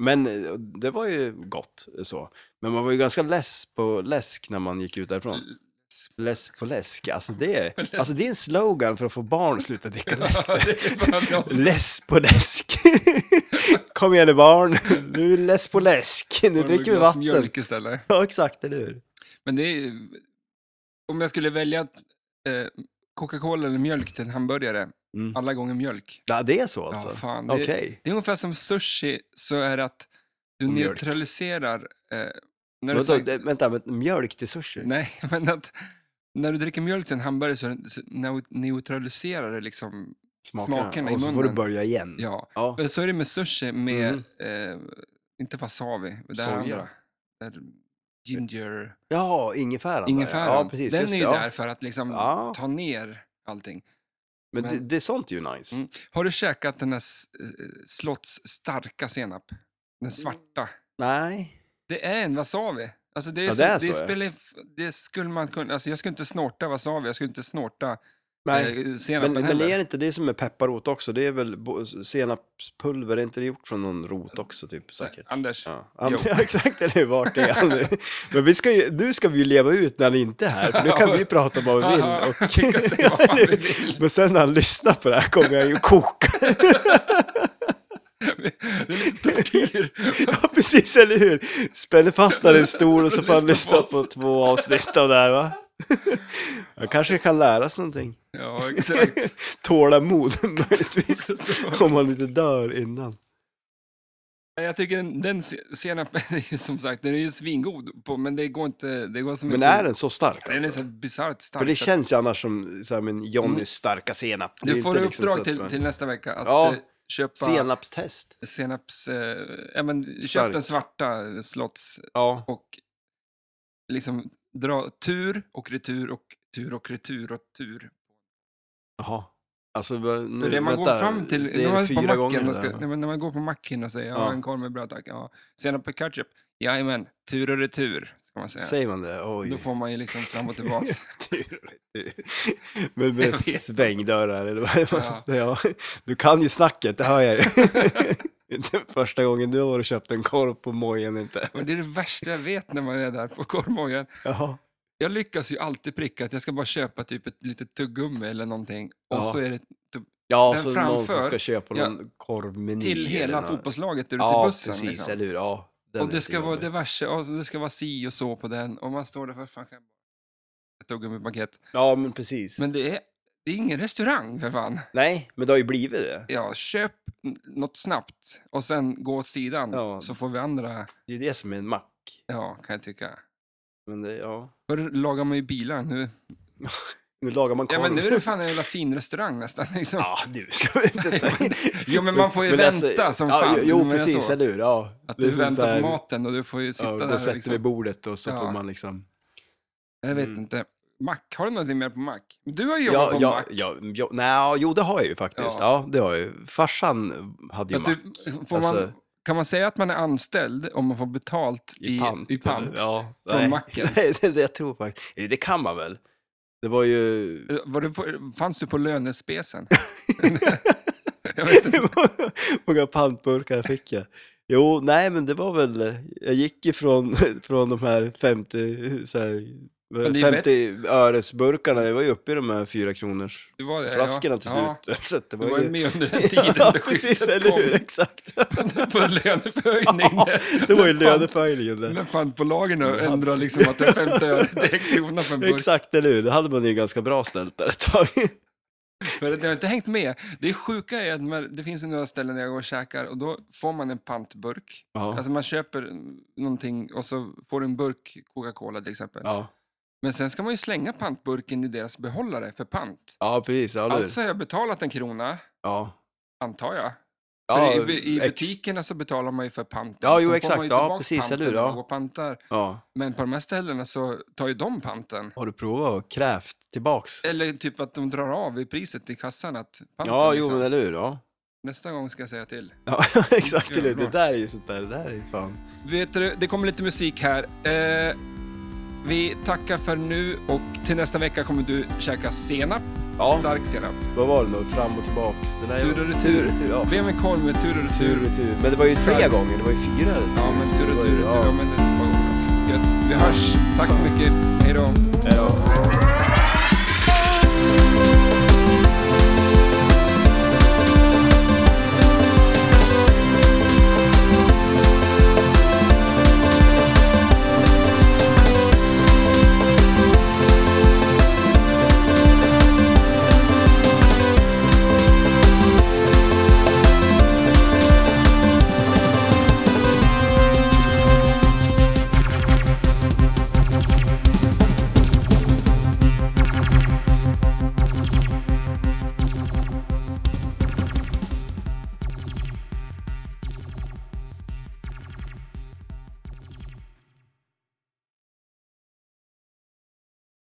Speaker 2: men eh,
Speaker 1: Mm.
Speaker 2: det var ju gott så. Men man var ju ganska less på läsk när man gick ut därifrån.
Speaker 1: läsk.
Speaker 2: Less på läsk, alltså det, är, alltså det är en slogan för att få barn att sluta dricka läsk.
Speaker 1: det är bara bra.
Speaker 2: Less på läsk. Kom igen nu barn, nu är det less på läsk. Nu
Speaker 1: Bara med
Speaker 2: dricker vi
Speaker 1: glas
Speaker 2: vatten.
Speaker 1: Mjölk istället.
Speaker 2: Ja, exakt, eller hur?
Speaker 1: Men det är, om jag skulle välja eh, Coca-Cola eller mjölk till en hamburgare,
Speaker 2: Mm.
Speaker 1: alla gånger mjölk.
Speaker 2: Ja, det är så
Speaker 1: Ja,
Speaker 2: alltså.
Speaker 1: fan. Det,
Speaker 2: Okej.
Speaker 1: det är ungefär som sushi, så är det att du
Speaker 2: Och mjölk.
Speaker 1: neutraliserar... Eh, när du
Speaker 2: Vadå,
Speaker 1: säger,
Speaker 2: det- Vänta, men mjölk till sushi?
Speaker 1: Nej, men att när du dricker mjölk till en hamburgare så, är det- så neu- neutraliserar det liksom,
Speaker 2: Mm.
Speaker 1: smakerna i
Speaker 2: Och så får du
Speaker 1: munnen.
Speaker 2: börja igen.
Speaker 1: ja.
Speaker 2: Ja.
Speaker 1: Men så är det med sushi med,
Speaker 2: Mhm.
Speaker 1: eh, inte wasawi, det här
Speaker 2: Soja.
Speaker 1: andra. Där, ginger,
Speaker 2: Ja, ingefäran.
Speaker 1: ingefäran.
Speaker 2: Ja, precis.
Speaker 1: Den
Speaker 2: just
Speaker 1: är
Speaker 2: det,
Speaker 1: ju
Speaker 2: ja.
Speaker 1: där för att liksom
Speaker 2: Ja.
Speaker 1: ta ner allting.
Speaker 2: Men
Speaker 1: Men-
Speaker 2: det, det är sånt ju nice.
Speaker 1: Mm. Har du käkat den här s- eh, Slotts starka senap?
Speaker 2: Mm.
Speaker 1: Den svarta.
Speaker 2: Nej.
Speaker 1: Det är en wasabi. Alltså det, är
Speaker 2: Ja,
Speaker 1: så,
Speaker 2: det är
Speaker 1: det,
Speaker 2: så, ja.
Speaker 1: spelar, f- det skulle man kunna, alltså jag skulle inte snorta wasabi, jag skulle inte snorta
Speaker 2: Nej.
Speaker 1: eh,
Speaker 2: Men,
Speaker 1: senapen
Speaker 2: men
Speaker 1: heller.
Speaker 2: är det inte det som är pepparrot också? Det är väl bo- senapspulver, är inte det gjort från någon rot också typ
Speaker 1: Så-
Speaker 2: säkert?
Speaker 1: Anders,
Speaker 2: Ja, ja
Speaker 1: Jo.
Speaker 2: men- ja, exakt, eller hur? Vart är han nu? Men vi ska ju, nu ska vi ju leva ut när han inte är här, för nu kan vi ju prata vad vi vill.
Speaker 1: Aha,
Speaker 2: Och...
Speaker 1: vi kan säga vad fan vi vill.
Speaker 2: Men sen när han lyssnar på det här kommer jag ju koka.
Speaker 1: det är lite tortyr.
Speaker 2: Ja, precis, eller hur? Spänner fast han i en stol och så får han
Speaker 1: Lyssna
Speaker 2: lyssna
Speaker 1: på oss.
Speaker 2: på två avsnitt av det här, va? Han kanske kan lära sig någonting.
Speaker 1: ja, exakt.
Speaker 2: Tålamod, möjligtvis. Om han inte dör innan.
Speaker 1: Men Jag tycker den, den se- senapen, är ju som sagt, den är ju svingod, på, men det går inte... Det går som
Speaker 2: Men
Speaker 1: inte-
Speaker 2: är den så stark
Speaker 1: Den är
Speaker 2: alltså?
Speaker 1: så bisarrt stark.
Speaker 2: För det
Speaker 1: så att- Mm.
Speaker 2: känns ju annars som så här, men Johnnys starka senap. Det är
Speaker 1: Du får
Speaker 2: inte
Speaker 1: i
Speaker 2: liksom
Speaker 1: uppdrag
Speaker 2: så att
Speaker 1: till,
Speaker 2: man-
Speaker 1: till nästa vecka att
Speaker 2: Ja,
Speaker 1: eh, köpa
Speaker 2: Senapstest.
Speaker 1: senaps... Eh, ja, men, köp
Speaker 2: Stark.
Speaker 1: den svarta slotts
Speaker 2: Ja.
Speaker 1: och liksom dra tur och retur och tur och retur och tur.
Speaker 2: Jaha. Alltså vad-
Speaker 1: Nu,
Speaker 2: nu,
Speaker 1: det man
Speaker 2: vänta,
Speaker 1: går fram till,
Speaker 2: det
Speaker 1: när,
Speaker 2: är
Speaker 1: man är på
Speaker 2: fyra gånger
Speaker 1: macken
Speaker 2: det
Speaker 1: och ska,
Speaker 2: där.
Speaker 1: när, man, när man går på macken och säger ja.
Speaker 2: Ja.
Speaker 1: en korv med bröd tack. Ja. Senap och ketchup, jajamän, tur och retur ska man säga.
Speaker 2: Säger man det? Oj.
Speaker 1: Då får man ju liksom fram och tillbaks.
Speaker 2: Men med
Speaker 1: Jag vet.
Speaker 2: svängdörrar eller vad
Speaker 1: Ja.
Speaker 2: ja. ja. Du kan ju snacket, det hör jag ju. Inte första gången du har varit och köpt en korv på mojen inte.
Speaker 1: och det är det värsta jag vet när man är där på korvmojen.
Speaker 2: Ja.
Speaker 1: Jag lyckas ju alltid pricka att jag ska bara köpa typ ett litet tuggummi eller någonting. Och
Speaker 2: Ja.
Speaker 1: så är det
Speaker 2: Ja,
Speaker 1: Den
Speaker 2: så någon som
Speaker 1: framför,
Speaker 2: ska köpa
Speaker 1: ja,
Speaker 2: någon korvmeny.
Speaker 1: till
Speaker 2: eller
Speaker 1: hela
Speaker 2: något.
Speaker 1: fotbollslaget ute
Speaker 2: Ja,
Speaker 1: i bussen.
Speaker 2: precis,
Speaker 1: liksom.
Speaker 2: eller hur. Ja, den
Speaker 1: och
Speaker 2: är
Speaker 1: det
Speaker 2: inte
Speaker 1: ska vara
Speaker 2: jobbig.
Speaker 1: diverse, och det ska vara si och så på den. Och man står där, för fan kan jag bara- ett tuggummipaket.
Speaker 2: Ja, men precis.
Speaker 1: Men det är, det är ingen restaurang för fan.
Speaker 2: Nej, men det har ju blivit det.
Speaker 1: Ja, köp n- något snabbt och sen gå åt sidan
Speaker 2: Ja.
Speaker 1: så får vi andra,
Speaker 2: Det är det som är en mack.
Speaker 1: ja kan jag tycka.
Speaker 2: Men det, ja.
Speaker 1: Förr lagar man ju bilar nu.
Speaker 2: Nu lagar man korv.
Speaker 1: Ja men nu är det fan en jävla fin restaurang nästan. Liksom.
Speaker 2: Ja, nu ska vi inte...
Speaker 1: Nej, men- jo, men man får ju vänta som
Speaker 2: alltså, ja,
Speaker 1: fan,
Speaker 2: jo, Jo,
Speaker 1: men jag
Speaker 2: precis,
Speaker 1: så.
Speaker 2: eller hur? Ja.
Speaker 1: Att
Speaker 2: Det är
Speaker 1: du
Speaker 2: som så
Speaker 1: väntar
Speaker 2: här-
Speaker 1: på maten och du får ju sitta
Speaker 2: Ja, och
Speaker 1: där.
Speaker 2: då
Speaker 1: och
Speaker 2: sätter
Speaker 1: liksom.
Speaker 2: vi bordet och så
Speaker 1: Ja.
Speaker 2: får man liksom...
Speaker 1: Jag vet
Speaker 2: Mm.
Speaker 1: inte. Mac, har du någonting mer på Mac? Du har ju jobbat
Speaker 2: Ja,
Speaker 1: på
Speaker 2: ja,
Speaker 1: Mac.
Speaker 2: ja, ja, nej, jo det har jag ju faktiskt.
Speaker 1: Ja.
Speaker 2: Ja, det har jag ju. Farsan hade ju
Speaker 1: För att
Speaker 2: mack.
Speaker 1: du, får man,
Speaker 2: Alltså-
Speaker 1: kan man säga att man är anställd om man får betalt i,
Speaker 2: I pant.
Speaker 1: I pant?
Speaker 2: Ja,
Speaker 1: Från
Speaker 2: nej.
Speaker 1: macken.
Speaker 2: Nej, det, det jag tror faktiskt. Eller Det kan man väl? Det var ju...
Speaker 1: Eh, Var du på, fanns du på lönespesen? jag vet inte.
Speaker 2: Hur många pantburkar fick jag? Jo, nej men det var väl, jag gick ju från, från de här 50, så här,
Speaker 1: Men det är
Speaker 2: 50 öresburkarna, jag var ju uppe i de här fyra kronors
Speaker 1: Du var det,
Speaker 2: flaskorna till
Speaker 1: Ja.
Speaker 2: slut. Så att det
Speaker 1: Du var ju
Speaker 2: ju...
Speaker 1: med under den tiden
Speaker 2: ja,
Speaker 1: det
Speaker 2: precis,
Speaker 1: skiftet
Speaker 2: eller hur,
Speaker 1: kom.
Speaker 2: exakt.
Speaker 1: på löneförhöjning.
Speaker 2: Ja, det var ju
Speaker 1: Fan,
Speaker 2: löneförhöjningen där.
Speaker 1: Men fan på lagen och ändra liksom att det är 50 öre till en krona för en burk.
Speaker 2: Exakt, eller hur? Det hade man ju ganska bra ställt där ett tag.
Speaker 1: För att jag har inte hängt med. Det sjuka är att man, det finns ju några ställen där jag går och käkar och då får man en pantburk.
Speaker 2: Ja,
Speaker 1: Alltså man köper någonting och så får du en burk Coca-Cola till exempel.
Speaker 2: ja.
Speaker 1: Men sen ska man ju slänga pantburken i deras behållare för pant.
Speaker 2: ja precis. Ja, eller hur?
Speaker 1: Alltså har jag betalat en krona,
Speaker 2: ja.
Speaker 1: antar jag.
Speaker 2: Ja,
Speaker 1: för i, i
Speaker 2: ex-
Speaker 1: butikerna så betalar man ju för panten.
Speaker 2: Ja, jo,
Speaker 1: Sen
Speaker 2: exakt.
Speaker 1: Får man ju
Speaker 2: Ja,
Speaker 1: tillbaka
Speaker 2: precis,
Speaker 1: panten
Speaker 2: eller hur?
Speaker 1: när man
Speaker 2: Ja.
Speaker 1: går och pantar.
Speaker 2: Ja.
Speaker 1: Men på de här ställena så tar ju de panten.
Speaker 2: Har du provat och krävt tillbaks?
Speaker 1: Eller typ att de drar av i priset i kassan att panten
Speaker 2: Ja, jo,
Speaker 1: liksom.
Speaker 2: men eller hur? Ja.
Speaker 1: Nästa gång ska jag säga till.
Speaker 2: Ja, exakt. Eller, hur?
Speaker 1: Jävlar.
Speaker 2: det där är ju sånt där, det där är ju fan.
Speaker 1: Vet du, det kommer lite musik här. Eh, vi tackar för nu och till nästa vecka kommer du käka senap.
Speaker 2: Ja.
Speaker 1: Stark senap.
Speaker 2: Vad var det då? Fram och tillbaks? Nej,
Speaker 1: Tur och retur.
Speaker 2: Tur och retur, ja.
Speaker 1: Be om en korv med tur och
Speaker 2: Tur och
Speaker 1: retur.
Speaker 2: retur. Men det var ju tre
Speaker 1: Starkt.
Speaker 2: gånger, det var ju fyra.
Speaker 1: Ja, men tur och
Speaker 2: Det var
Speaker 1: retur.
Speaker 2: ju-
Speaker 1: retur. Ja, men det var Gött. Vi hörs. Tack så mycket. Hej då.
Speaker 2: Hej då.